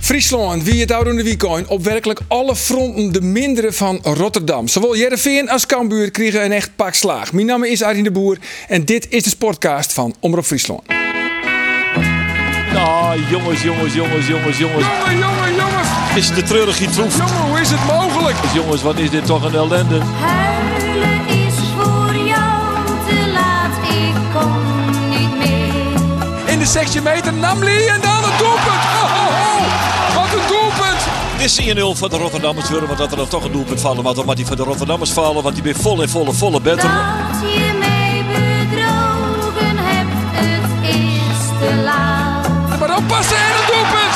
Friesland wie het oude weekend op werkelijk alle fronten de mindere van Rotterdam. Zowel Jereveen als Cambuur kregen een echt pak slaag. Mijn naam is Arjen de Boer en dit is de sportcast van Omroep Friesland. Nou, jongens, jongens, jongens, jongens, jongens. Jongen, jongen, jongen, Is de treurige troef. jongen, hoe is het mogelijk? Jongens, wat is dit toch een ellende? Huilen is voor jou te laat, ik kom niet meer. In de 16 meter Namli en dan het doelpunt. Ho, ho, ho. Wat een doelpunt. Dit is 1-0 voor de Rotterdammers willen, want dat er nog toch een doelpunt vallen. Want dan moet die van de Rotterdammers vallen, want die weer volle, volle, volle better. Dat je mij bedrogen hebt, het is te laat. Maar dan passen en een doelpunt.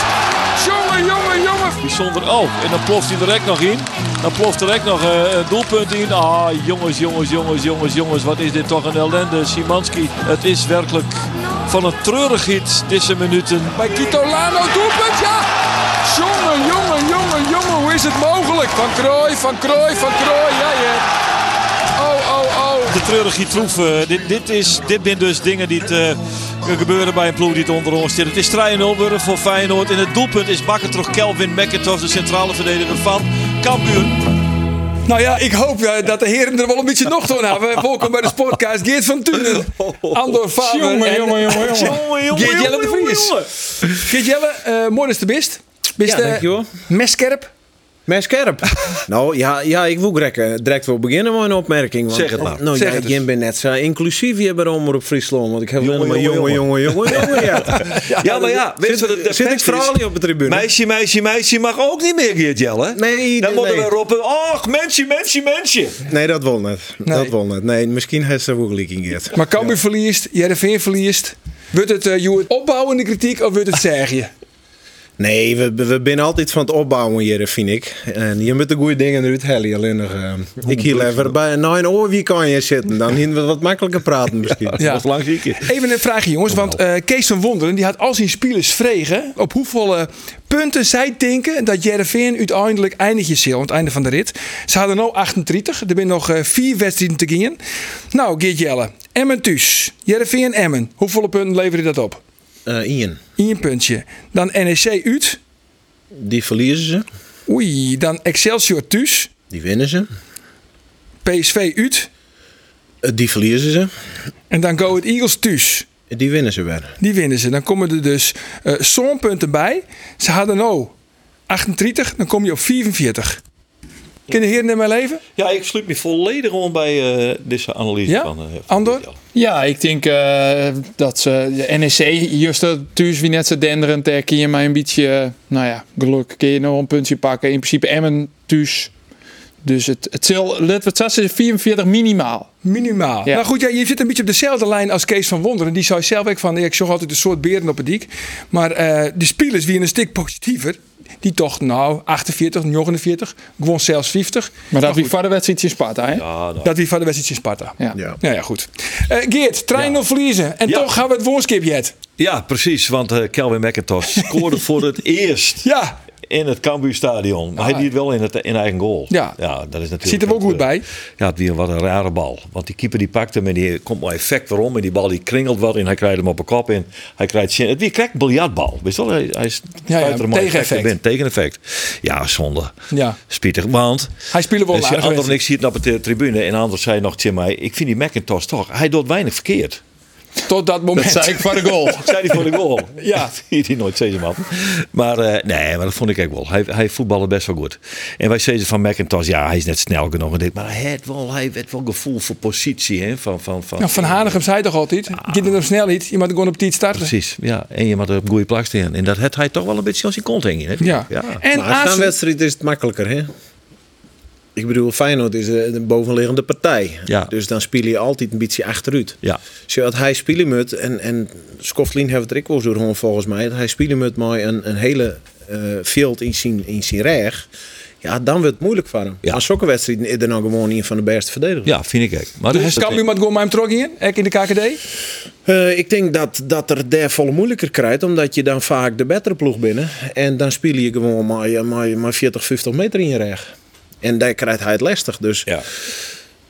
Jongen, jongen, jongen. Bijzonder. Oh, en dan ploft hij direct nog in. Dan ploft direct nog eh, een doelpunt in. Ah, jongens, jongens, jongens, jongens, jongens. Wat is dit toch een ellende, Simanski. Het is werkelijk van een treurigheid deze minuten. Bij Kitolano doelpunt, ja. Jongen, jongen, jongen, jongen, hoe is het mogelijk? Van Krooi, van Krooi, van Krooi, ja, ja. Oh, oh, oh. De treurige troef. eh, dit, dit, is, dit zijn dus dingen die te, gebeuren bij een ploeg die het onder ons zit. Het is 3-0 worden voor Feyenoord. In het doelpunt is bakken terug Kelvin McIntosh, de centrale verdediger van Cambuur. Nou ja, ik hoop eh, dat de heren er wel een beetje nog aan hebben. Welkom bij de sportcast Geert van Tunen, Andor Faber Jongen, en jongen, jongen, jongen. Jongen, jongen, Geert Jelle de jongen, jongen, Vries. Geert Jelle, eh, mooi dat je er bist. Bist Ja, dankjewel. meskerp? Mijn scherp. nou ja, ja ik wil direct, eh, direct wel beginnen met een opmerking. Want, Zeg het maar. Nou, Zeg ja, het eens. Jim bent net zo inclusief hier bij Omroep Friesland. Want ik heb Jongen, alleen maar jongen, jongen, jongen, jongen, jongen. Ja, Ja, maar ja, weet je Zit, wat het de zit ik pest is? verhaal op de tribune? Meisje, meisje, meisje mag ook niet meer, Geert Jelle. Nee, Dan nee, moeten nee. we roepen, ach, mensje, mensje, mensje. Nee, dat wil net. Dat wil net. Nee, misschien heeft ze wel gelijk in Geert. Maar Cambuur verliest, Jereveen verliest. Wordt het eh Joerd opbouwende kritiek of wordt het zeggen? Nee, we, we zijn altijd van het opbouwen hier, vind ik. En je moet de goede dingen eruit halen. Alleen nog, eh, ik hier even bij nou een oor wie kan je zitten. Dan gaan we wat makkelijker praten misschien. Ja. was lang Even een vraagje, jongens. Want eh, Kees van Wonderen die had al zijn spelers vregen. op hoeveel eh, punten zij denken dat Jereveen uiteindelijk eindigt je aan het einde van de rit. Ze hadden nu 38. Er zijn nog eh, vier wedstrijden te gaan. Nou, Geert Jelle. Emmen thuis. Jereveen Emmen. Hoeveel punten leveren dat op? Eh, Ian, Eén puntje. Dan NEC uit. die verliezen ze. Oei. Dan Excelsior thuis. Die winnen ze. PSV uit. Eh, Die verliezen ze. En dan Go Ahead Eagles thuis. Die winnen ze weer. Die winnen ze. Dan komen er dus eh zo'n punten bij. Ze hadden nou 38, dan kom je op 44. Kunnen de heren in mijn leven? Ja, ik sluit me volledig om bij eh, deze analyse Ja? van, eh, van Andor? Geert Jelle. Ja, ik denk eh, dat ze de NEC juist dat thuis wie net zo denderend daar kun je maar een beetje, eh, nou ja, geluk kun je nog een puntje pakken. In principe Emmen thuis. Dus het, het zal, laten we het zo zeggen, 44 minimaal. Minimaal. Ja. Nou goed, ja, je zit een beetje op dezelfde lijn als Kees van Wonderen. Die zei zelf ook van, ik zag altijd een soort beren op het dik. Maar eh de spelers wie een stuk positiever, die toch nou 48, 49, gewoon zelfs 50. Maar dat goed, wie voor de wedstrijd in Sparta, hè? Ja, nou. dat wie van de wedstrijd in Sparta. Ja. Ja. Nou ja, goed. Eh, Geert, trein of verliezen. En Ja. toch gaan we het woonskip jet. ja, precies, want eh, Kelvin McIntosh scoorde voor het eerst. Ja, in het Cambuurstadion. Maar hij deed wel in, het, in eigen goal. Ah. Ja. dat is natuurlijk eh, Ziet er wel goed bij. Ja, het was wat een rare bal. Want die keeper die pakt hem en die komt maar effect weer om. En die bal die kringelt wat en hij krijgt hem op een kop in. Hij krijgt zin. Het wie krijgt een biljartbal. Weet je wel, hij, hij ja, tegeneffect. Tegen Tegeneffect. Ja, zonde. Ja. Spietig, want... Hij speelde wel een Dus aardige Ander en wedstrijd. ik zitten op de tribune en Ander zei nog tegen mij... Ik vind die McIntosh toch, hij doet weinig verkeerd. tot dat moment. Dat zei ik voor de goal. Zei hij voor de goal. Ja. Viert hij nooit Sezerman. Maar eh, nee, maar dat vond ik ook wel. Hij, hij voetbalde best wel goed. En bij Cezar van McIntosh, ja, hij is net snel genoeg. en dit, Maar hij had wel, hij had wel gevoel voor positie. Hè, van, van, van, Nou, van Hanegem zei toch altijd: Giet het hem snel niet, je moet gewoon op tijd starten. Precies, ja. En je moet er op een goede plek staan. En dat had hij toch wel een beetje als hij kont hingen. hè. Ja. En Maar als het een AZ, wedstrijd is het makkelijker, hè? Ik bedoel, Feyenoord is eh, de bovenliggende partij. Ja. Dus dan speel je altijd een beetje achteruit. Ja. Zodat hij spelen moet, en, en Skoflin heeft het er ook wel zo rond volgens mij, dat hij spelen moet met een, een hele eh veld in zijn, in zijn reg. Ja, dan wordt het moeilijk voor hem. Ja. Maar zulke wedstrijden is er nou gewoon een van de beste verdedigers. Ja, vind ik ook. Dus Maar dat hij is het kan nu ook. met goal met hem trokken in, ook in de KKD. Eh, ik denk dat, dat er daar volle moeilijker krijgt, omdat je dan vaak de betere ploeg binnen. En dan speel je gewoon maar, eh, maar, maar 40, 50 meter in je reg. En daar krijgt hij het lastig. Dus Ja.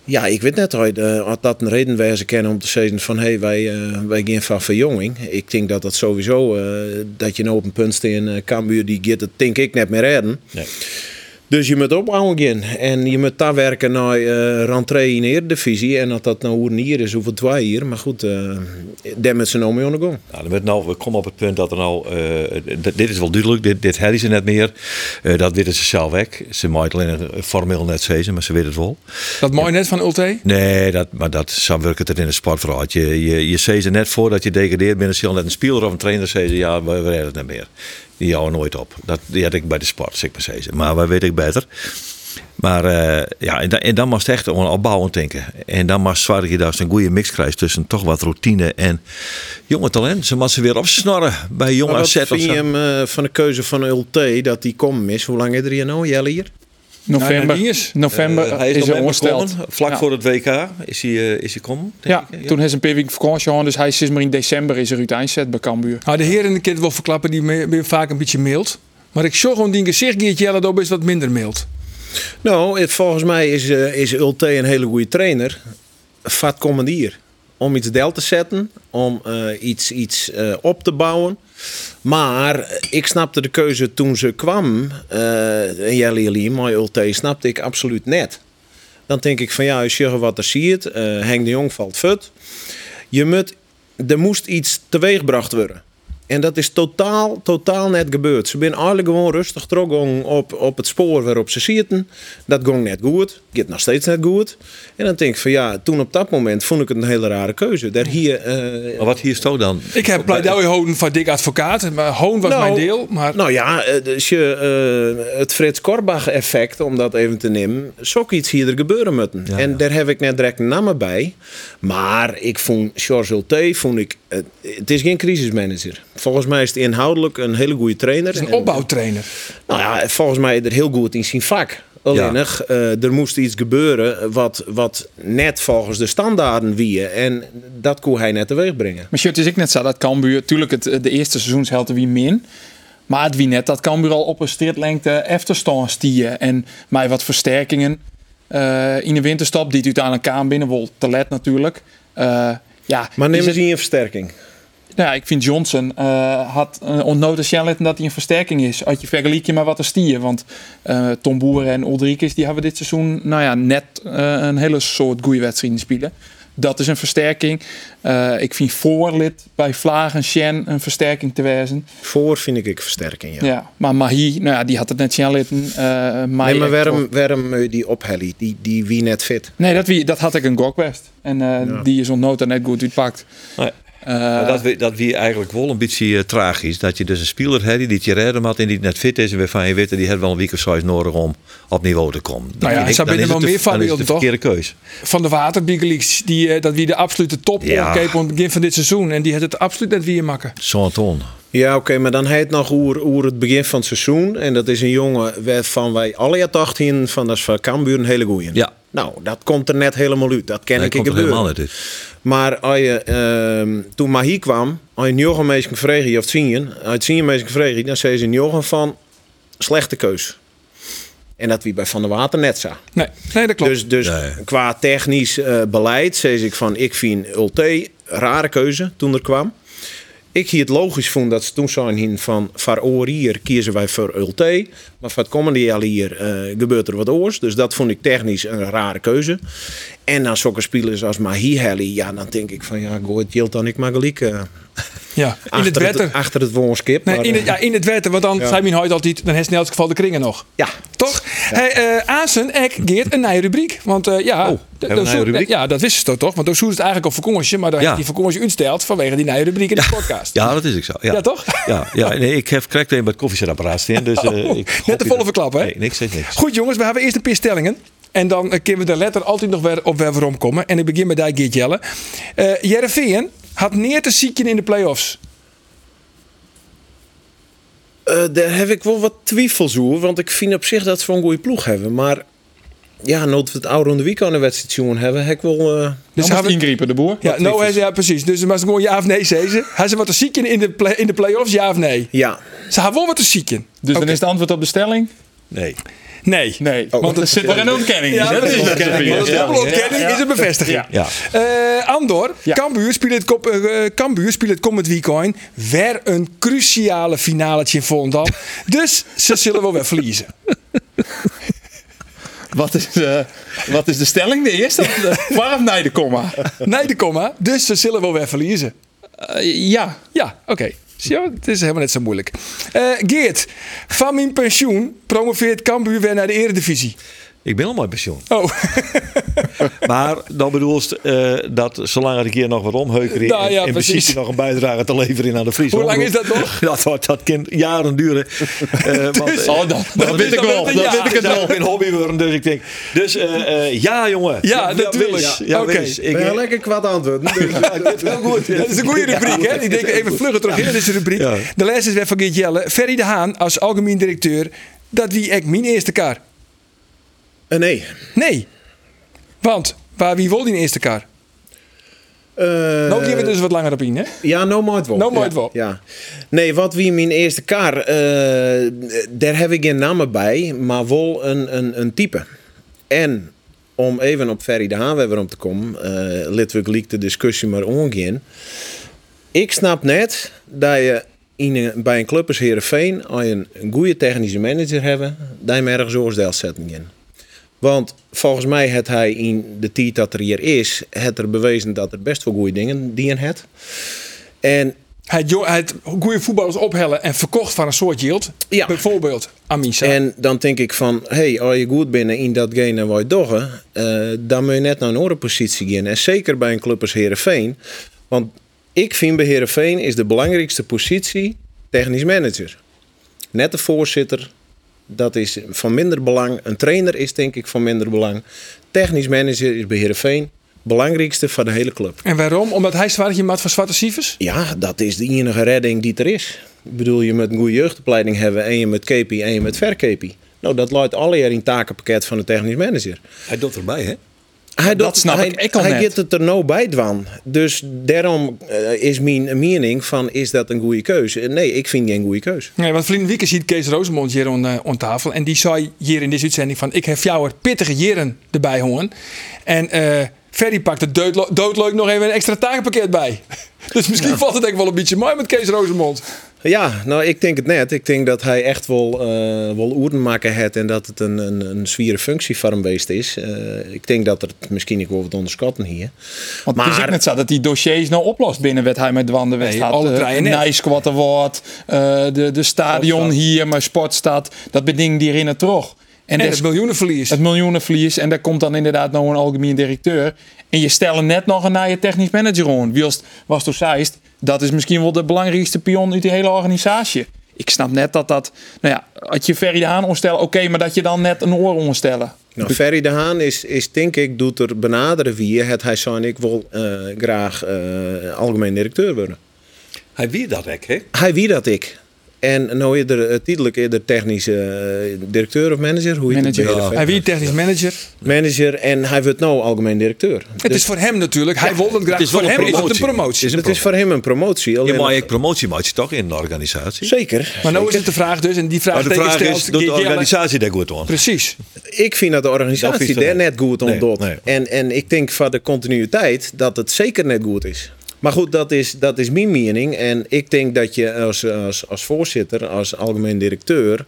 Ja, ik weet net ooit eh, had dat een reden wijze kennen om te zeggen van hey, wij, eh, wij gaan van verjonging. Ik denk dat dat sowieso eh, dat je nou op een punt staat in eh, Cambuur die gaat het denk ik net meer redden. Nee. Dus je moet opbouwen gaan en je moet daar werken naar eh rentree in de Eredivisie. En dat dat nou hoe een hier is, hoeveel twee hier. Maar goed, eh daar met z'n nou mee ondergaan. Nou, dan werd nou, we komen op het punt dat er nou, eh, d- dit is wel duidelijk, dit, dit hadden ze net meer. Eh, dat weten ze zelf weg. Ze maakt alleen een formeel net zezen, maar ze weten het wel. Dat mooi net van Ulte. Nee, dat, maar dat, zo werkt het er in de sportverhaal. Je, je, je zei ze net voordat je degradeert binnen Sil net een speler of een trainer zei ze, ja, we, we redden het net meer. Die houden nooit op. Dat die had ik bij de sport, zeg maar zei ze. Maar wij weet ik beter. Maar eh, ja, en, dan- en dan moest echt gewoon opbouwend denken. En dan moest zwaar dat je daar eens een goede mix krijgt tussen toch wat routine en jonge talent. Ze moest ze weer opsnorren bij jong Maar wat AZ of vind je zo. hem eh, van de keuze van Ulte dat die kom is? Hoe lang is er hier nou, Jelle hier? November, Nou, die is- november Eh, hij is nog hij net ongesteld. begonnen. Vlak Ja. voor het WK is hij, eh, is hij komen. denk Ja, ik, hè? toen heeft ze een paar weken vakantie gehad, dus hij is sinds maar in december is er uit zet bij Cambuur. Nou, de heren die kind wel verklappen, die me- me vaak een beetje mild. Maar ik zorg gewoon die gezicht Geert Jelle Dob is wat minder mild. Nou, eh, volgens mij is, eh, is Ulte een hele goede trainer. Vat commandier. Om iets del te zetten, om eh, iets, iets eh, op te bouwen. Maar eh, ik snapte de keuze toen ze kwam, eh, en Jelle Jelly, maar Ulte snapte ik absoluut net. Dan denk ik van ja, als je wat er ziet, eh Henk de Jong valt fut. Je moet, er moest iets teweeggebracht worden. En dat is totaal, totaal net gebeurd. Ze zijn eigenlijk gewoon rustig teruggegaan op, op het spoor waarop ze zitten. Dat ging net goed. Gaat nog steeds net goed. En dan denk ik van ja, toen op dat moment vond ik het een hele rare keuze. Daar hier, eh, Maar wat hier stond dan? Ik heb pleidooi houden van Dick Advocaat. Maar Hoon was Nou, mijn deel. Maar Nou ja, eh, dus je, eh, het Frits Korbach effect, om dat even te nemen, zoek iets hier er gebeuren met. hem. en daar heb ik net direct namen bij. Maar ik vond George Ulte, vond ik, eh, het is geen crisismanager. Volgens mij is het inhoudelijk een hele goede trainer. het is een En- opbouwtrainer. nou ja, volgens mij is er heel goed in zijn vak. Alleenig, eh, er moest iets gebeuren wat, wat net volgens de standaarden wie. En dat kon hij net teweeg brengen. Maar Sjut, is ik net zei dat Cambuur, tuurlijk het, de eerste seizoenshelte wie min. Maar het wie net dat Cambuur al op een stritlengte efterstand stieën. En mij wat versterkingen eh, in de winterstap, die het uiteindelijk aan binnen, wel te let natuurlijk. Eh, ja, Maar neem die eens in een versterking. Nou, ja, ik vind Johnson eh, had eh, ontnoten Shellett dat hij een versterking is. Had je vergelijk je maar wat er stier. Want eh, Tom Boeren en Ulrikis die hebben dit seizoen nou ja, net eh, een hele soort goede wedstrijden spelen. Dat is een versterking. Eh, ik vind voorlid bij Vlagen Shen een versterking te wezen. Voor vind ik versterking, ja. Ja. maar Mahi, nou ja, die had het net Shellett. eh Nee, Mahi maar ook- waarom, waarom moet je die ophellen? Die, die wie net fit. Nee, dat, wie, dat had ik een Gokwest. En eh, die is ontnoten net goed uitpakt. Dus Nee. Eh, Maar dat, we- dat wie eigenlijk wel een beetje eh, tragisch. Dat je dus een speler hebt die het je redden had en die net fit is. En waarvan je weet dat die heeft wel een week of zoiets nodig om op niveau te komen. Dan Nou ja, vind ik- zou dan binnen is het wel de- meer Dan is het de voorbeelden, toch? verkeerde keus. Van de Waterbiegeliks, die eh, dat wie de absolute top Ja. ja. aan het begin van dit seizoen. En die had het absoluut net wie makken. Zo'n ton. Ja, oké, maar dan heet nog hoe, hoe het begin van het seizoen. En dat is een jongen waarvan wij alle jaar dachten van dat is van Cambuur een hele goeie. Ja. Nou, dat komt er net helemaal uit. Dat ken Dat ik ik komt er gebeuren. helemaal uit. dit. Maar als je, ehm, toen Mahi kwam, als je een jongen meisje vreeg, je hebt zien, je, als je zien je meisje vreeg, dan zei ze een jongen van slechte keus. En dat wie bij Van der Water net zo. Nee, nee, dat klopt. Dus, dus Nee. qua technisch eh, beleid zei ik van ik vind Ulte rare keuze toen er kwam. Ik hier het logisch vond dat ze toen zijn hin van van oor hier kiezen wij voor Ulte. Maar van het komende jaar hier eh, gebeurt er wat oors. Dus dat vond ik technisch een rare keuze. En dan zulke spelers als Mahi Heli, ja dan denk ik van ja, goed, Jilt dan ik maar gelijk eh, ja. In het achter, wetter. het, achter het woonskip. Nee, maar, in het, eh, ja, in het wetten, want dan zijn we nooit altijd, dan heeft in elk geval de kringen nog. ja. Toch? Hey, eh, Azen, Ek, Geert, een nieuwe rubriek. Want eh, ja, Oh, hebben we dat- een dat nieuwe zoet- rubriek? ja, dat wisten ze toch, toch? Want dan zoet het eigenlijk op vakantie, maar dan Ja. heeft die vakantie uitsteld vanwege die nieuwe rubriek in de podcast. Ja, dat is ik zo. Ja, Ja, toch? Ja, ja nee, ik heb correct een bij het koffiezetapparaat staan. Dus, eh, ik net de volle verklap, hè? Nee, niks is niks. Goed jongens, we hebben eerst een paar stellingen. En dan eh, kunnen we er letter altijd nog weer op weer waarom komen. En ik begin met die Geert Jelle. Eh Dus Nou, Jereveen had neer te zieken in de play-offs. Eh, daar heb ik wel wat twijfels over. Want ik vind op zich dat ze wel een goede ploeg hebben. Maar ja, nooit we het oude ronde week aan de wedstrijd zien hebben, heb ik wel... eh, Dus hebben we- ingrepen, de boer. Ja, nou, hij- ja, precies. Dus ze was gewoon ja of nee, zei ze. Hij zei wat een ziekje in de, play, in de play-offs, ja of nee? ja, Ze had wel wat een ziekje. Dus dan is het antwoord op de stelling? Nee. Nee. Nee, want er zit er een ontkenning in. Ja, hè? dat is Dus- ontkenning. Dat is dubbele ontkenning, is een bevestiging. Ja. Eh, Andor, Ja. Cambuur speelt het, kop- eh, eh, Cambuur speelt het komend weekend weer een cruciale finale in Volendam. Dus ze zullen wel weer verliezen. Wat is, eh, wat is de stelling? De eerste? of de- Waarom nee de komma? Nee, de komma. Dus ze zullen wel weer verliezen. Eh, ja. Ja, oké. Zie je wel, het is helemaal net zo moeilijk. Eh, Geert, van mijn pensioen promoveert Cambuur weer naar de eredivisie. Ik ben al mijn pensioen. Oh, Maar dan bedoelst eh dat zolang ik hier nog wat omheuker in, Nou ja, in precies. principe nog een bijdrage te leveren aan de Friese Hoe lang omroep. is dat nog? Dat, wordt- dat kan jaren duren. Eh, want, eh, Oh, dat, dat weet ik wel. Dat ja, weet ik het zou wel. ook een hobby worden, dus ik denk. Dus eh, eh, ja, jongen. Ja, natuurlijk. wees. Ja, Oké. wees. Ik, Ben je lekker kwaad antwoorden. Dus, heel goed. dat is een goede rubriek, hè? Ik denk even vlugger terug in, dat is de rubriek. Ja. De les is weer van Geert Jelle. Ferry de Haan als algemeen directeur. Dat wie ik mijn eerste kaart. Eh, nee. Nee. Want, waar wie wil die eerste kaart? Eh, Nou, die hebben we dus wat langer op in, hè? Ja, no might wel. No might ja. wel. Ja. Nee, wat wie mijn eerste kar, eh, daar heb ik geen namen bij, maar wel een, een, een type. En om even op Ferry de Haan weer om te komen, eh Litwik liek de discussie maar ongein. Ik snap net dat je in een- bij een club als Heerenveen, als je een- een goede technische manager hebben, dat je hem ergens oors deel zetten kan. Want volgens mij had hij in de tijd dat er hier is, het er bewezen dat er best wel goede dingen die in het. En Hij had jo- hij had goede voetballers ophellen en verkocht van een soort yield. Ja. Bijvoorbeeld Amisa. En dan denk ik van, hey, als je goed binnen in datgene wat je doggen, dan moet je net naar een andere positie gaan. En zeker bij een club als Herenveen. Want ik vind bij Herenveen is de belangrijkste positie technisch manager. Net de voorzitter, dat is van minder belang. Een trainer is denk ik van minder belang. Technisch manager is bij Herenveen belangrijkste van de hele club. En waarom? Omdat hij zwaardje maat van Zwarte Sievers? Ja, dat is de enige redding die er is. Ik bedoel, je moet een goede jeugdopleiding hebben en je met KP en je met verkepi. Nou, dat luidt alle jaar in het takenpakket van de technisch manager. Hij doet erbij, hè? Hij Dat doet- snap hij, ik, ik al Hij net. gaat het er nou bij dwan. Dus daarom eh, is mijn mening van, is dat een goede keuze? Eh, Nee, ik vind geen goede keuze. Nee, want vrienden Wieken ziet Kees Rosemond hier aan, eh, aan tafel. En die zei hier in deze uitzending van... Ik heb jou er pittige jaren erbij hongen. En eh Ferry pakt er doodlo- doodleuk nog even een extra takenpakket bij. Dus misschien valt het denk ik wel een beetje mooi met Kees Rosemond. Ja, nou, ik denk het net. Ik denk dat hij echt wel, eh wel oeren maken heeft en dat het een, een, een zwiere functie voor hem geweest is. Eh, ik denk dat er het misschien ik wel wat onderschatten hier. Want het is ook Maar- net zo dat die dossiers nou oplost binnen wat hij met Wander West Nee, had. alle Eh, drie een net. Nijsquad Award, eh, de, de stadion hier, maar Sportstad. Dat beding die erin het terug. En, En des- het miljoenenverlies. het miljoenenverlies. En daar komt dan inderdaad nog een algemeen directeur. En je stelt net nog een naar je technisch manager aan. Wielst was door Zeist. Dat is misschien wel de belangrijkste pion uit die hele organisatie. Ik snap net dat dat... Nou ja, had je Ferry de Haan onstellen, oké. maar dat je dan net een oor onstellen. Nou, Ferry de Haan is, is denk ik, doet er benaderen wie het hij zou en ik wil eh, graag eh, algemeen directeur worden. Hij wie dat hek, hè? Hij wie dat ik. En nou eerder eh, tijdelijk eerder technische eh, directeur of manager, hoe je Manager. het ook Ja. wil. Hij wie technisch manager. Manager en hij wordt nou algemeen directeur. Het is voor hem natuurlijk. Hij wil dat graag. Dus- het is wel voor een hem is het een promotie. promotie. Het is het is voor hem een promotie. Je alleen mag nog- ik promotie maakt je toch in de organisatie? Zeker. Maar nou is het de vraag dus. En die vraag, Maar de vraag is, doet de organisatie. organisatie daar goed aan? Precies. Ik vind dat de Dat is organisatie het daar wel. net goed om Nee, doet. nee. En, en ik denk van de continuïteit dat het zeker net goed is. Maar goed, dat is, dat is mijn mening. En ik denk dat je als, als, als voorzitter, als algemeen directeur,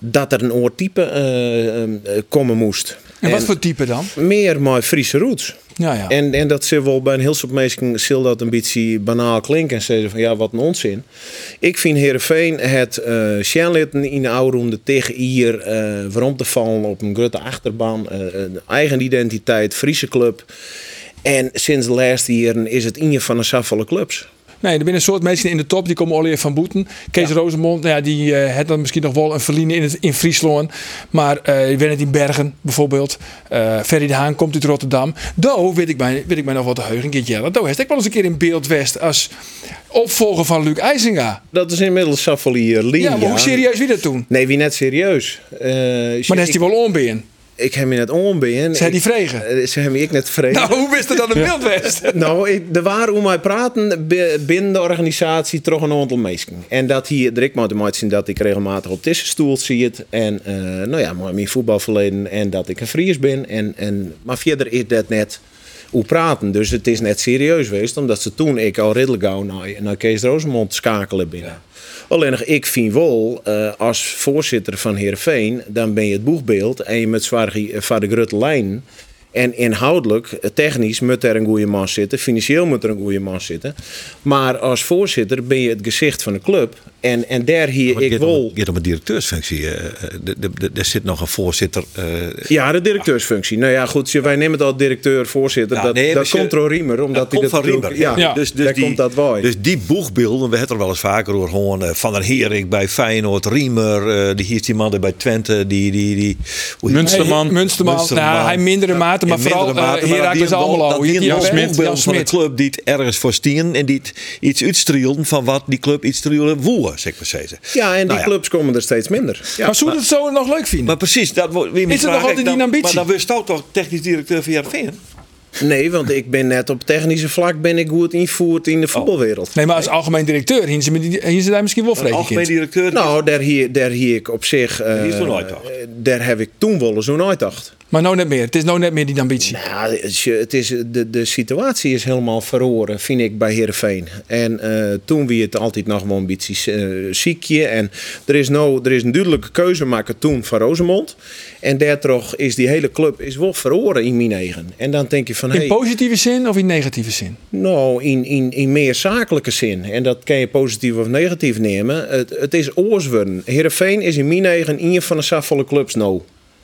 dat er een oor type eh, eh, komen moest. En, wat voor type dan? Meer maar Friese roots. Ja, ja. En, en dat ze wel bij een heel soort mensen zal dat een beetje banaal klinken. En zeggen van ja, wat een onzin. Ik vind Heerenveen het eh Sjenlitten in de oude ronde tegen hier eh waarom te vallen op een grote achterban. eh, een eigen identiteit, Friese club. En sinds de laatste jaren is het in je van een saffolle clubs. Nee, er zijn een soort mensen in de top. Die komen Olivier van Boeten. Kees Rosemond, nou ja, die eh had dan misschien nog wel een verliezen in, het- in Friesland. Maar eh je het in Bergen bijvoorbeeld. Eh Ferry de Haan komt uit Rotterdam. Do, weet ik mij, weet ik mij nog wat te heugen, een keertje. Do heeft ik wel eens een keer in beeld West als opvolger van Luc IJsinga. Dat is inmiddels Savolier Lien. Ja, maar hoe serieus wie dat toen? Nee, wie net serieus. Eh, Maar dan ik, is hij wel onbeen. ik heb me net onbeen. Zijn die Ik- vregen? eh, Ze hebben me ik net vreden. Nou, hoe wist er dan een beeld West? Nou, ik, er waren hoe mij praten bi- binnen de organisatie toch een aantal mensen. En dat hier, Dirk moet hem uitzien dat ik regelmatig op deze stoel zit. En eh, nou ja, maar mijn voetbalverleden en dat ik een Fries ben. En, en, maar verder is dat net hoe praten. Dus het is net serieus geweest, omdat ze toen ik al redelijk gauw naar, naar Kees Rosemond schakelen binnen. Alleen nog, ik vind wel, eh, als voorzitter van Heerenveen, dan ben je het boegbeeld en je met Zwargie van de Grutte lijn. En inhoudelijk, eh, technisch, moet er een goede man zitten. Financieel moet er een goede man zitten. Maar als voorzitter ben je het gezicht van de club. En, en daar hier ik Je wel... hebt op een directeursfunctie. eh, eh, de- de- de- Er zit nog een voorzitter. eh, Ja, de directeursfunctie. Nou ja, goed, wij nemen het al directeur, voorzitter. Ja, dat nee, maar dat ze- komt door Riemer. Omdat Dat hij komt dat van Riemer. Ja, ja. Dus, daar komt dat wel. Dus die boegbeelden, we hebben er wel eens vaker over gewoon eh, Van der Herik bij Feyenoord, Riemer, eh, die hier is die man er bij Twente, die... die, die hoe heet Munsterman. hij? Man. Munsterman. Nou, hij in mindere mate, maar In vooral mindere mate, eh, maar Heracles dat die Almelo. wel- dat Hoe heet die die wel ook? boegbeelden Jan van een Smit. club die het ergens voor stien en die het iets uitstrielden van wat die club iets strielden woelen, zeg maar zeggen. ja, en die Nou ja. clubs komen er steeds minder. Ja. Maar zou je het zo nog leuk vinden? Maar precies, dat wordt weer Is er nog altijd die ambitie? Maar dan wist ook toch technisch directeur van Heerenveen? Nee, want ik ben net op technische vlak ben ik goed invoerd in de voetbalwereld. Nee, maar als algemeen directeur hien ze, met die- hien ze daar misschien wel vreken Algemeen kind. directeur? Nou, daar hier, daar hier ik op zich. eh, Die is toen uitdacht. eh, Daar heb ik toen wel eens een uitdacht. Maar nou net meer. Het is nou net meer die ambitie. Nou, het is- het is, de, de situatie is helemaal verroren, vind ik, bij Heerenveen. En eh, toen wie het altijd nog wel een beetje eh, ziekje. En er is, nou, er is een duidelijke keuze maken toen van Rosemond. En daardoor is die hele club is wel verroren in mijn eigen. En dan denk je van, In hey, positieve zin of in negatieve zin? Nou, in, in, in meer zakelijke zin. En dat kan je positief of negatief nemen. Het, het is oorswurren. Heerenveen is in mijn eigen een van de saffolle clubs nou.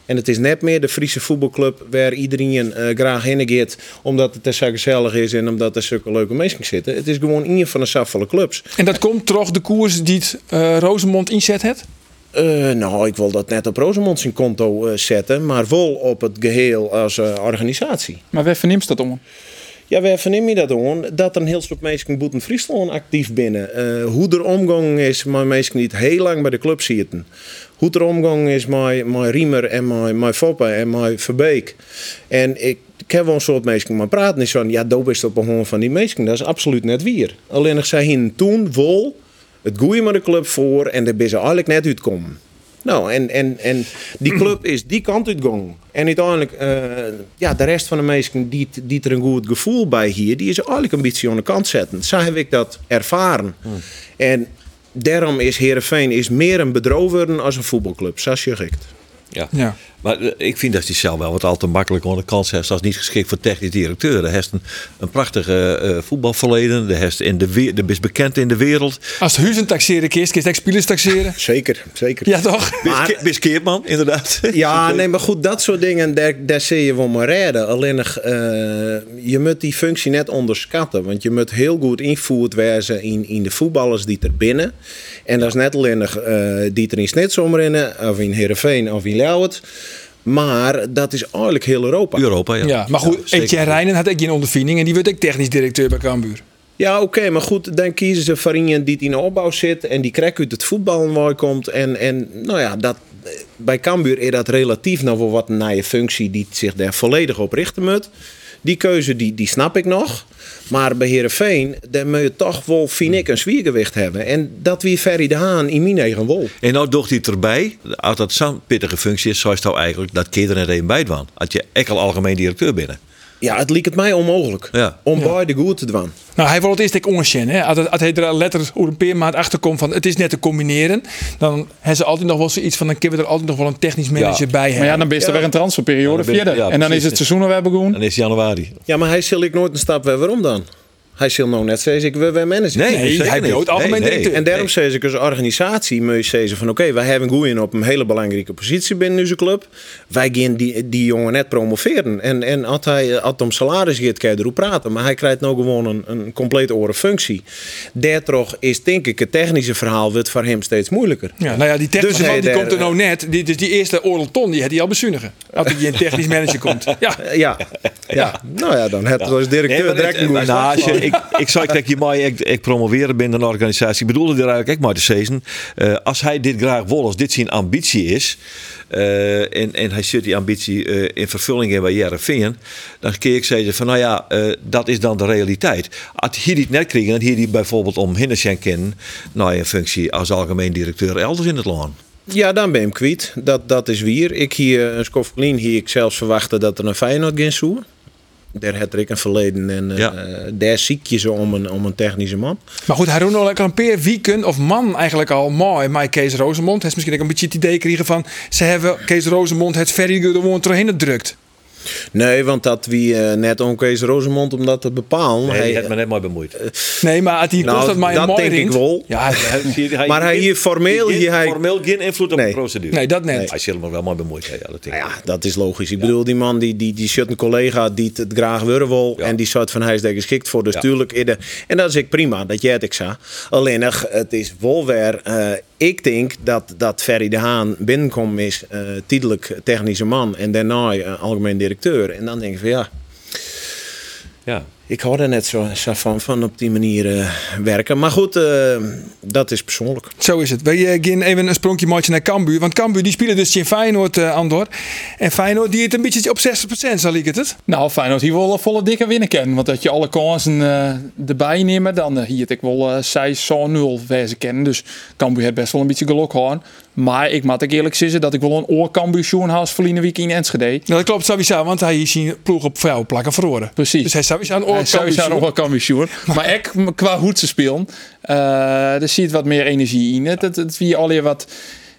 En het is net meer de Friese voetbalclub waar iedereen eh, graag heen gaat. Omdat het er zo gezellig is en omdat er zulke leuke mensen zitten. Het is gewoon een van de saffolle clubs. En dat komt toch de koers die het, eh Rosemond inzet het? Eh, nou, ik wil dat net op Rosemond zijn konto eh, zetten. Maar wel op het geheel als eh, organisatie. Maar waar verneemt dat om? Ja, we vernemen je dat hoor. Dat er een heel soort mensen boeten Friesland actief binnen. Eh, hoe er omgang is met mensen die het heel lang bij de club zitten. Hoe er omgang is met, met Riemer en met, met Foppe en met Verbeek. En ik, ik heb wel een soort mensen maar praten is van... Ja, doop is op een hoorn van die mensen. Dat is absoluut net wier. Alleen nog zij hingen toen vol het goeie met de club voor... en daar ben ze eigenlijk net uitkomen. Nou, en, en, en die club is die kant uitgegaan. En uiteindelijk, eh, ja, de rest van de mensen die, het- die er een goed gevoel bij hier, die is eigenlijk een beetje aan de kant zetten. Zo heb ik dat ervaren. En daarom is Herenveen is meer een bedrover als een voetbalclub, zo zeg ik het. Ja. Ja. Maar eh, ik vind dat die cel wel wat al te makkelijk aan de kans heeft. Dat is niet geschikt voor technisch directeur. Hij heeft een, een prachtige eh, voetbalverleden. Hij heeft in de, we- de is bekend in de wereld. Als het huizen taxeren kist, kist echt spelers taxeren. Zeker, zeker. Ja toch? Maar- Bis- Bis Keertman, inderdaad. Ja, nee, maar goed, dat soort dingen, daar, daar zie je wel maar redden. Alleen nog, eh, je moet die functie net onderschatten. Want je moet heel goed ingevoerd worden in, in de voetballers die er binnen. En dat is net alleen nog eh, die er in Snitsom rennen, of in Heerenveen, of in Ljouwert. Maar dat is eigenlijk heel Europa. Europa, ja. Ja, maar goed, zeker. Etienne Reinen had ik geen ondervinding en die wordt ik technisch directeur bij Cambuur. Ja, oké, maar goed, dan kiezen ze voor iemand die in de opbouw zit en die krek uit het voetbal mooi komt. En, en nou ja, dat, bij Cambuur is dat relatief nog wel wat naar je functie die zich daar volledig op richten moet. Die keuze die, die snap ik nog. Maar bij Herenveen, daar moet je toch wel, vind ik, een zwiergewicht hebben. En dat wie Ferry de Haan in mijn eigen wol. En nou docht hij het erbij. Als dat zo'n pittige functie is, zou je nou eigenlijk dat keer er net even bij doen. Als je echt al algemeen directeur binnen. Ja, het liep het mij onmogelijk Ja. om beide goed te doen. Nou, hij wil het eerst ik ongeschen. hè. Als, het- als hij er letter hoe een peermaat achterkomt van het is net te combineren, dan hebben ze altijd nog wel zoiets van dan kunnen we er altijd nog wel een technisch manager Ja. bij Maar hebben. ja, dan ben je er weer een transferperiode Ja, dan ben je- verder. ja, en dan precies. is het seizoen alweer begonnen. Dan is het januari. Ja, maar hij zal ik nooit een stap weer. Waarom dan? Hij zal nou net zeggen, ik wil weer manager. Nee, Nee, zeker hij niet. wil het algemeen directeur. En daarom zei ze als organisatie, moet je zeggen van oké, wij hebben Goeien op een hele belangrijke positie binnen onze club. Wij gaan die, die jongen net promoveren. En, en als hij als het om salaris gaat, kan je erop praten. Maar hij krijgt nou gewoon een, een compleet oren functie. Daardoor is denk ik het technische verhaal wordt voor hem steeds moeilijker. Ja, nou ja, die technische Dus man die hij komt er daar, nou net. Die, dus die eerste Orel Ton, die had hij al bezuinigen. Als hij een technisch manager komt. Ja, Eh, Ja, ja. nou ja, dan heb je als directeur maar direct het- een goede nou, start. als je- ik, ik zou ik je maar ik, ik promoveren binnen een organisatie. Ik bedoelde er eigenlijk ook maar te zeggen. eh, als hij dit graag wil, als dit zijn ambitie is. eh, en, en hij zit die ambitie eh, in vervulling in bij Jereveen. Dan kun ik zeggen van nou ja, eh, dat is dan de realiteit. Als hij dit net krijgt, dan hier die bijvoorbeeld om Hinnesjen kennen. Nou een functie als algemeen directeur elders in het land. Ja, dan ben je hem kwijt. Dat, dat is wier. Ik hier, een Scofflin hier, ik zelfs verwachtte dat er een Feyenoord ging zoeken. Daar had ik een verleden en eh, Ja. daar zie ik je ze om een, om een technische man. Maar goed, hij roept al een peer weekend of man eigenlijk al mooi. Maar Kees Rosemond heeft misschien ook een beetje het idee gekregen van... ze hebben Kees Rosemond het verder gewoon doorheen gedrukt. Nee, want dat wie eh, net om Kees Rosemond om dat te bepalen. Nee, Hij- die heeft me net mooi bemoeid. Nee, maar had hij Nou, kost dat maar een dat mooi denk ik ringt. wel. Ja, Maar hij hier formeel- Geen- hier hij- formeel geen invloed op Nee. de procedure. nee, dat net. Hij zal me wel maar bemoeid hebben. Ja, dat denk ik. nou ja, dat is logisch. Ik bedoel, die man die, die, die zit een collega die het graag willen wil. Ja. En die soort van hij is daar geschikt voor. Dus Ja. tuurlijk. in de- En dat is ik prima, dat jij het ik zag. Alleen, nog, het is wel weer. eh, ik denk dat, dat Ferry de Haan binnenkomt is eh tijdelijk technische man. En daarna eh, algemeen directeur. En dan denk ik van ja. Ja. Ik hou er net zo, zo van, van op die manier eh, werken. Maar goed, eh, dat is persoonlijk. Zo is het. We eh, gaan even een sprongje maatje naar Cambuur. Want Cambuur die spelen dus in Feyenoord, eh, Andor. En Feyenoord die het een beetje op 60%, zal ik het het? Nou, Feyenoord hier wel een volle dikke winnen kennen. Want dat je alle kansen eh erbij neemt, dan eh, hier het ik wel eh, 6 zo'n 0 wijze kennen. Dus Cambuur heeft best wel een beetje geluk gehad. Maar ik moet ook eerlijk zeggen dat ik wel een oor Cambuur Schoenhaus verliezen week in Enschede. Nou, dat klopt sowieso, want hij is zijn ploeg op vrouwen plakken verloren. Precies. Dus hij is sowieso aan Hij oor zou nog wel Cambuur Sjoerd. Maar ik, qua hoe ze spelen, eh er ziet wat meer energie in. Het, het, het wie alweer wat,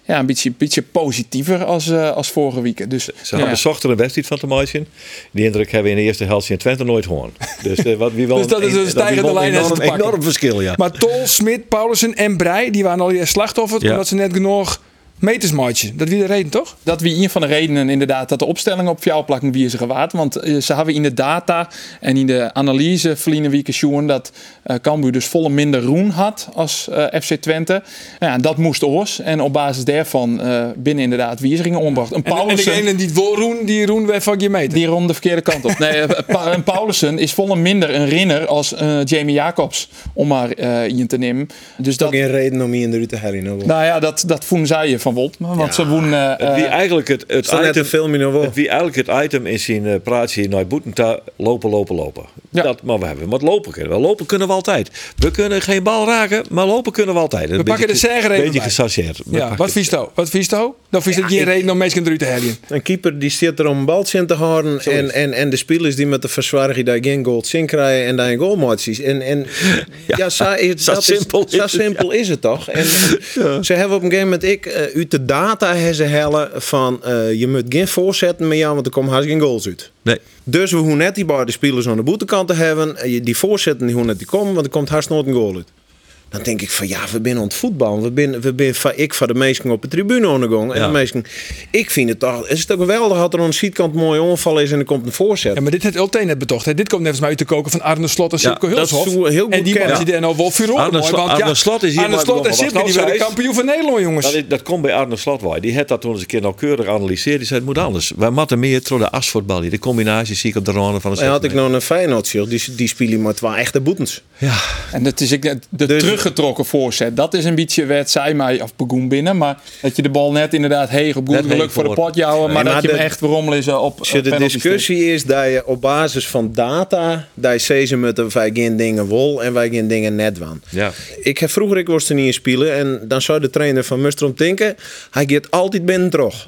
ja, een beetje, beetje positiever als, eh, als vorige week. Dus Ze ja. hadden zocht er een wedstrijd van te maken. Die indruk hebben we in de eerste helft in Twente nooit gehoord. Dus, eh, wat, wie wel Dus dat is een dat wie stijgende wel lijn enorm, is te pakken. enorm verschil, ja. Maar Tol, Smit, Paulussen en Breij, die waren alweer slachtoffer. Ja. Omdat ze net genoeg meters maatje. Dat wie de reden, toch? dat wie een van de redenen inderdaad dat de opstelling op jouw plakken wie is gewaard. Want eh, ze hebben in de data en in de analyse verliezen wieken sjoen dat eh Cambuur dus volle minder roen had als eh, FC Twente. Nou Ja, dat moest oors. En op basis daarvan eh, binnen inderdaad wijzigingen ombracht. En, Een en Paulussen- degene die het wil roen, die roen weer van je meter. die rond de verkeerde kant op. Nee, eh, Pa- en Paulussen is volle minder een rinner als eh, Jamie Jacobs, om maar eh in te nemen. Dus Dat dat, is geen reden om hier in de Rutte Harry nou. wel. nou ja, dat, dat voelen zij je van Wolt. Want ze woen. eh, wie eh, eigenlijk het, het Is dat net een item... filmpje nou wel? het Wie eigenlijk het item in zijn eh, praatje hier naar Boetenta lopen, lopen, lopen. Ja. Dat, maar we hebben wat lopen kunnen. we. lopen kunnen we altijd. We kunnen geen bal raken, maar lopen kunnen we altijd. We pakken de zegger even Een beetje bij. gesasseerd. Ja, wat vies toe? Wat vies toe? Dan vies dat geen reden om mensen eruit te hebben. Een keeper die zit er om een baltje in te houden. En, en, en de spelers die met de verzwaring daar geen goal zin krijgen en daar een goal maakt. En, en ja, zo, is, zo dat simpel is, is zo het, simpel is het toch? En, Ze hebben op een gegeven moment ik, eh, uit de data hebben ze hellen van eh, je moet geen voorzetten met jou, want er komen haast geen goals uit. Nee. Dus we hoeven net die beide spelers aan de boetekant te hebben. Eh, Die voorzetten die hoeven net die komen, want er komt haast nooit een goal uit. Dan denk ik van ja, we zijn aan het voetbal. We zijn, we zijn, van- ik van de meesten op de tribune ondergang. En Ja. de meesten, ik vind het toch, het is toch geweldig dat er aan de zijkant een mooie onval is en er komt een voorzet. Ja, maar dit heeft Ulte net betocht. Hè. Dit komt net mij uit de koken van Arne Slot en Ja, Silke dat is Hulshoff. zo heel goed en die man kennen. die daar nou wel furoren Arne mooi. Slot- Want ja, Arne Slot is hier Arne maar Slot en begonnen. Silke, Wat die nou werden zei- kampioen van Nederland, jongens. Dat, is- Nou, dat komt bij Arne Slotwaai. Die had dat toen eens een keer nauwkeurig analyseerd. Die zei, het moet anders. Wij matten meer door de asfaltbal hier. De combinatie zie ik op de ronde van de en had ik nog een Feyenoord, joh, die, die spelen maar twee echte boetens. en dat is ik, net- de Dus- teruggetrokken voorzet. Dat is een beetje werd zij mij of Begoen binnen. Maar dat je de bal net inderdaad heeg op goed Net geluk heeg voor de voor. pot jouwen. Maar maar dat je hem de- echt rommelen is op. Dus de discussie is dat je op basis van data, dat je zegt, ze moeten wij geen dingen wol en wij geen dingen net van. Ja. Ik heb vroeger ik was er niet in spelen en dan zou de trainer van Mustrom denken, hij gaat altijd binnen terug.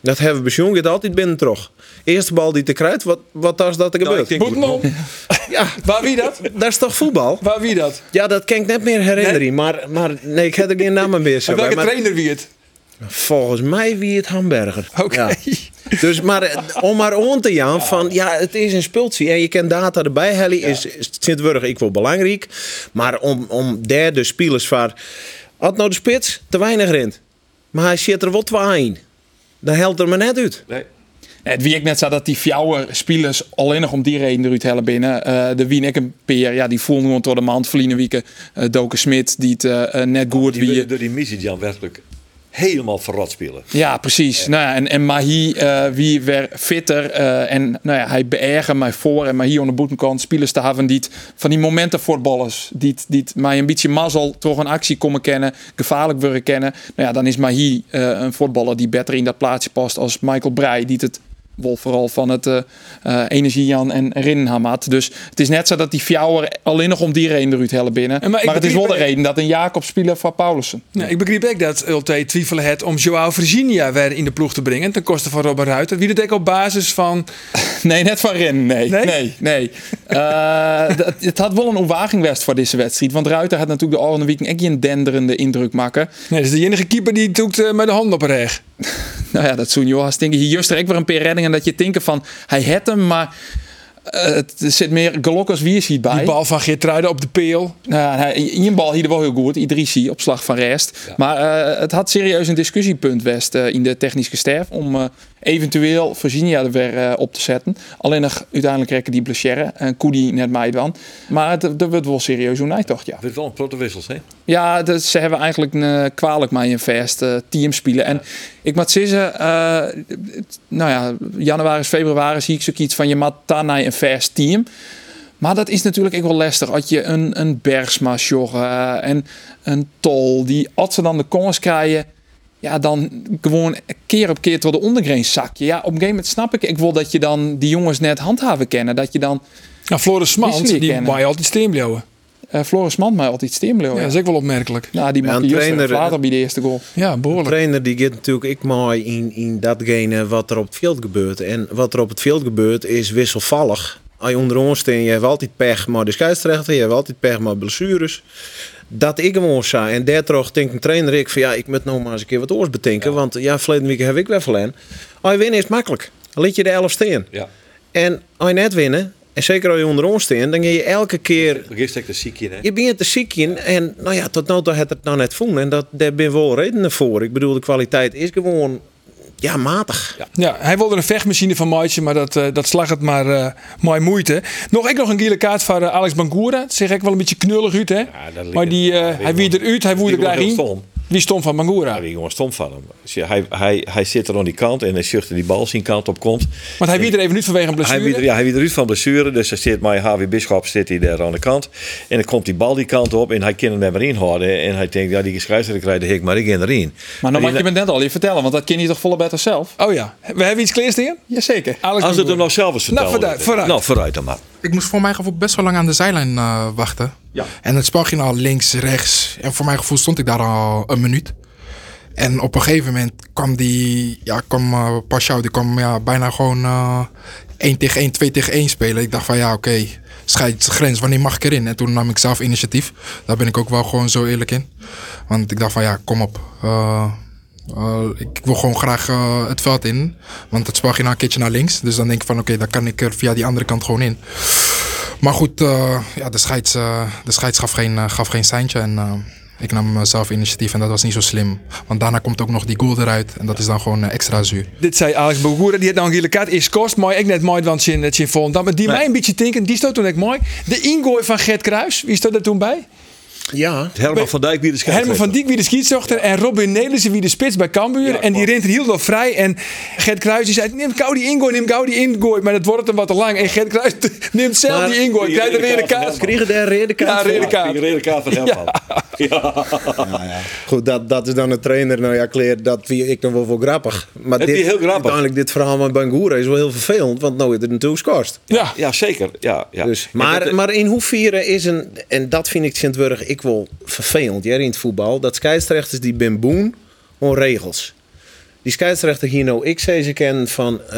Dat hebben we bezien, gaat altijd binnen terug. Eerste bal die te krijgt, wat, wat als dat er Nou, gebeurt? ik denk- Boetman, ja, waar wie dat? dat is toch voetbal? Waar wie dat? Ja, dat kan ik net meer herinneren, maar, maar nee, ik heb er geen namen meer. zo En welke bij, maar trainer wie het? Volgens mij wie het Hamburger. Oké. Ja. Dus maar eh, om maar on te gaan van ja, het is een spultje en je kan data erbij halen is is Sint-Wurg ik wil belangrijk, maar om om daar de spelers van had nou de spits te weinig rent. Maar hij zit er wat in. Dan helpt er me net uit. Het wie ik net zei dat die fjouwer spelers alleen nog om die reden eruit hellen binnen. Eh, de wie ik een peer, ja, die voelen gewoon door de hand verliezen wieken. Eh, Doken Smit, die het eh, eh, net goed Die wie. willen door die missie Jan werkelijk helemaal verrot spelen. Ja, precies. Nou ja, en, en Mahi, eh, wie weer fitter. eh, en nou ja, hij beërgen mij voor. En Mahi aan de boetenkant spelers te hebben die het- van die momenten voetballers. Die, het- die het mij een beetje mazzel toch een actie komen kennen. Gevaarlijk worden kennen. Nou ja, dan is Mahi eh, een voetballer die beter in dat plaatsje past als Michael Breij. Die het wel vooral van het eh eh, energie Jan en Rinnenham had. Dus het is net zo dat die Fjouwer alleen nog om die reden eruit hellen binnen. En Maar, maar ik het is wel de begreep- reden dat een Jacob speler van Paulussen. Nou, ik begreep ook dat Ulte twijfelen het om Joao Virginia weer in de ploeg te brengen. Ten koste van Robert Ruiter. Wie dat deed op basis van... Nee, net van Ren. Nee, Nee? nee, nee. Eh, dat- het had wel een omwaging west voor deze wedstrijd. Want Ruiter had natuurlijk de Oranje Weekend echt een denderende indruk maken. Nee, dat is de enige keeper die doet eh, met de hand op haar reg. Nou ja, dat zoen Johan Stinken. Hier juist er ook weer een paar reddingen dat je denken van... Hij het hem, maar eh, het er zit meer gelok als wie is hierbij. Die bal van Geertruiden op de peel. Nou, hij, in bal hier wel heel goed. Idrissi op slag van rest. Maar eh, het had serieus een discussiepunt West eh, in de technische sterf. Om eh, eventueel Virginia er weer eh, op te zetten. Alleen nog uiteindelijk rekken die blessure. En Koedi net mij dan. Maar het, er wordt wel serieus een toch ja. Het wel een protowissels, hè? Ja, dus ze hebben eigenlijk een kwalijk maar een vast eh, team spelen. En ik moet zeggen, eh, het- nou ja, januari, februari zie ik zoiets iets van je mat daar naar een vast team. Maar dat is natuurlijk ook wel lastig. Als je een, een Bergsma joggen en een Tol, die als ze dan de kans krijgen, ja, dan gewoon keer op keer tot de ondergrens zakje. Ja, op een gegeven moment snap ik, ik wil dat je dan die jongens net handhaven kennen. Dat je dan Nou, Floris Mans, Die is niet die kennen. mag je altijd Oh, steenblauwen. eh, Floris Man mij altijd stimuleren. Ja, dat is ook wel opmerkelijk. Nou, die Ja, maakt een juist trainer, eh, een vader bij de eerste goal. Ja, behoorlijk. trainer die gaat natuurlijk ik mooi in, in datgene wat er op het veld gebeurt. En wat er op het veld gebeurt is wisselvallig. Als je onder ons staat, je hebt altijd pech maar de scheidsrechter, je hebt altijd pech maar blessures. Dat ik hem zei. En daardoor denkt een trainer ik van ja, ik moet nou maar eens een keer wat oors bedenken. Want ja, verleden week heb ik wel verlen. Als je winnen is het makkelijk. Dan liet je de 11 staan. Ja. En als je net winnen, en zeker als je onder ons staat, dan ga je elke keer Gisteren de ziekje, hè? je bent te ziek in en nou ja, tot nu toe had het nou net voelen. En dat, daar ben wel redenen voor. Ik bedoel, de kwaliteit is gewoon ja, matig. Ja, hij wilde een vechtmachine van Maatje, maar dat, eh, dat slag het maar eh mooi moeite. Nog ik nog een gele kaart van eh, Alex Bangura. Het zegt echt wel een beetje knullig uit, hè? dat ligt- maar die, eh, ja, dat hij ligt wie wel- eruit, hij woerde ligt wel daar in. heel stom. Wie stom van Bangura? Ja, die jongen stom van hem. Dus ja, Hij, hij, hij zit er aan die kant en hij zucht die bal zijn kant op komt. Want hij wie er even uit vanwege een blessure. Hij wie, ja, hij wie eruit van blessure, dus hij zit met HW Bisschop zit hij daar aan de kant. En dan komt die bal die kant op en hij kan hem net maar inhouden. En hij denkt, ja, die scheidsrechter krijgt de hik, maar ik in erin. Maar dan En mag die- je me net al je vertellen, want dat ken je toch volle beter zelf? Oh ja, we hebben iets kleers tegen? Jazeker. Alex Als het Bangura. hem nou zelf eens vertellen. vooruit, vooruit. Nou, vooruit dan maar. Ik moest voor mijn gevoel best wel lang aan de zijlijn eh, wachten. Ja. En het spel ging al links, rechts. En voor mijn gevoel stond ik daar al een minuut. En op een gegeven moment kwam die, ja, kwam eh Pashao, die kwam ja, bijna gewoon eh 1 tegen 1, 2 tegen 1 spelen. Ik dacht van ja, oké, scheidsgrens, wanneer mag ik erin? En toen nam ik zelf initiatief. Daar ben ik ook wel gewoon zo eerlijk in. Want ik dacht van ja, kom op. Eh, eh, ik wil gewoon graag eh, het veld in. Want het spel ging al een keertje naar links. Dus dan denk ik van oké, dan kan ik er via die andere kant gewoon in. Maar goed, eh, ja, de, scheids, eh, de scheids gaf geen, eh, gaf geen seintje. En eh, ik nam eh, zelf initiatief en dat was niet zo slim. Want daarna komt ook nog die goal eruit. En dat is dan gewoon eh, extra zuur. Dit zei Alex Bangura, die had nou een gele kaart. Is kost, mooi. Ik net mooi, want zin in Volendam. Maar die mij een beetje tinken, die stond toen ik mooi. De ingooi van Gert Kruis, wie stond er toen bij? Ja. Herman van Dijk wie de scheidsrechter. Herman van Dijk wie de schietzochter en Robin Nelissen wie de spits bij Cambuur. en die rent hield nog vrij. En Gert Kruijs die zei, neem gauw die ingooi, neem gauw die ingooi. Maar dat wordt hem wat te lang. En Gert Kruijs neemt zelf Maar die ingooi. die Krijgt er weer een rode kaart kaart. van Kregen daar reden Ja, kaart voor? rode kaart. Die rode kaart van Herman. Goed, dat, dat is dan een trainer. Nou ja, Kleer, dat vind ik nog wel voor grappig. Maar Het dit, is heel grappig. uiteindelijk dit verhaal met Bangura is wel heel vervelend. Want nou is het natuurlijk kost. Ja. Ja, zeker. Ja, ja. Dus, En maar, dat- maar in hoeverre is een, en dat vind ik Sint-Wurg ik wel vervelend ja, in het voetbal, dat scheidsrechters die ben boen om regels. Die scheidsrechter hier nou, ik zei ze kennen van eh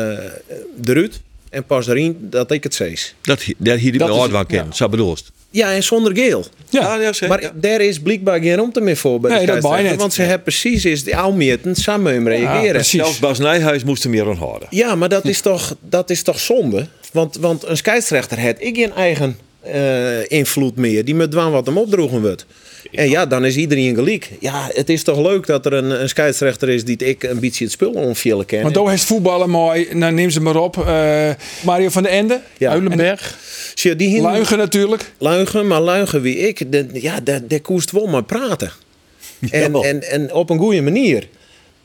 de Ruud en pas daarin dat ik het zees. Dat, dat hier die Dat bij is- Oudwaan kent, zo bedoelst. Ja, en zonder geel. Ja, ja, zeker. Maar Ja. daar is blijkbaar geen ruimte meer voor bij de Nee, dat scheidsrechter, baai net. Want ze hebben precies is de almieten samen hem reageren. Ja, precies. Zelfs Bas Nijhuis moest hem hier aan houden. maar dat is toch, dat is toch zonde? Want, want een scheidsrechter heeft ik geen eigen eh, invloed meer. Die moet dwaan wat hem opdroegen wordt. En ja, dan is iedereen gelijk. Ja, het is toch leuk dat er een, een scheidsrechter is die het ik een beetje het spul onvielen ken. Want daar Oh, is voetballen mooi. Nou, neem ze maar op. Eh, Mario van der Ende. Ja. Uilenberg. Zie je, die hinder- Luigen natuurlijk. Luigen, maar luigen wie ik, de- ja, daar daar koest wel maar praten. En, en, en op een goede manier.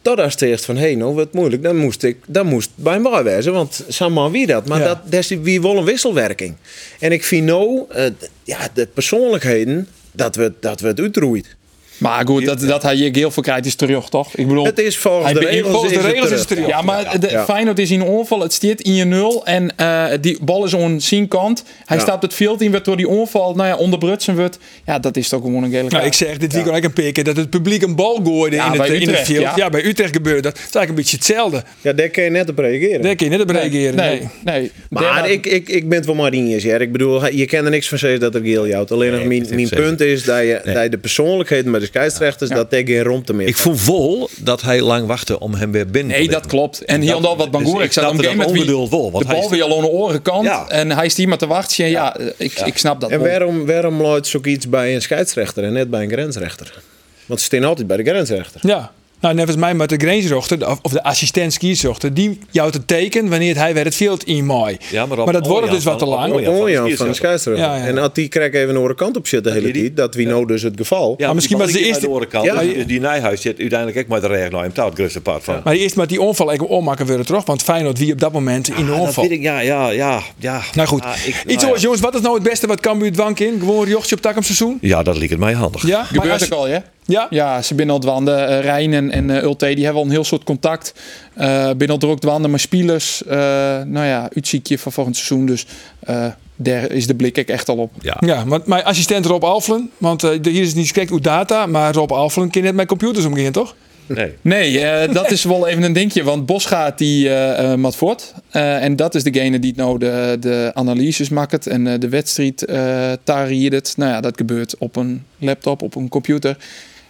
Dat als het eerst van, hé, nou, wat moeilijk, dan moest ik, dan moest bij mij wezen, want samen wie dat. Maar Ja. dat, dat is wie wel een wisselwerking. En ik vind nou, eh, ja, de persoonlijkheden, dat we dat we het uitroeit. Maar goed, dat, dat hij hier geel voor krijgt is terug, toch? Ik bedoel, Het is volgens hij de be- regels, volgens de is regels is terug. het terug. Ja, maar de, Ja. Feyenoord is in een onval. Het staat in 0 en eh, die bal is aan zijn kant. Hij Ja. stapt het veld in, werd door die onval nou ja, onderbrutsen wordt. Ja, dat is toch gewoon een gele Nou, kaart. ik zeg dit weekend ook een pikken dat het publiek een bal gooide Ja, in, het, bij in het Utrecht, veld. Ja. ja. bij Utrecht gebeurde dat. Het is eigenlijk een beetje hetzelfde. Ja, daar kun je net op reageren. Daar kun je net op reageren. Nee, nee. nee. Maar ik, ik, ik ben het wel maar eens, ja. Ik bedoel, je kent er niks van zeggen dat er geel jouwt. Alleen nog mijn, mijn zeker. punt is dat je, dat je de persoonlijkheden met de scheidsrechters, dat daar geen romte meer Ik van. voel vol dat hij lang wachtte om hem weer binnen Nee, dat klopt. En hier dat- en dan wat dus Bangoer. ik ik zat snapte om game dat met wie onbeduld wel, want de hij bal is- weer al aan de oren kant. Ja. En hij is hier maar te wachten. Ja, ja, ik, ik snap dat En wel. waarom, waarom luidt zoiets bij een scheidsrechter en net bij een grensrechter? Want ze staan altijd bij de grensrechter. Ja. Nou, net als mij met de grensrechter of- of de assistent skierzochter, die jou te teken wanneer hij weer het veld in mooi. Ja, maar op- dat oh, wordt ja, dus wat te van- lang. oh, ja. Oh ja, van van de de scheidsrechter. Ja, ja. En als die krek even een andere kant op zit de hele die- die- tijd, dat wie nou dus het geval. Ja, Maar misschien was de die bal eerste- ging naar de Ja. andere kant. Dus die Nijhuis zit uiteindelijk ook maar de recht naar hem touwt, Grusse Paard van. Maar eerst met die onval even ommaken willen terug, want Feyenoord wie op dat moment in de Ah, dat onval. weet ik, ja, ja, ja, ja. Nou goed, Ah, ik- iets nou anders ja. jongens, wat is nou het beste wat Cambuur dwank in? Gewoon een jochtje op tak om seizoen? Ja, dat liep het mij handig. Ja, maar Gebeurt als- ook al, hè? Ja? Ja, ze binnen al dwanden. eh Rijn en, en eh, Ulte, die hebben al een heel soort contact. eh binnen al druk dwanden, maar spelers, eh, nou ja, uitziekje van volgend seizoen. Dus eh, daar is de blik ik echt al op. Ja. Ja, want mijn assistent Rob Alflen, want eh, hier is niet correct hoe data, maar Rob Alflen kan net met computers omgaan, toch? Nee. Nee, eh, dat is wel even een dingetje. Want Bosgaat die eh eh, mat voort. Eh, en dat is degene die nou de, de analyses maakt. En eh, de wedstrijd eh tarieert. Nou ja, dat gebeurt op een laptop, op een computer.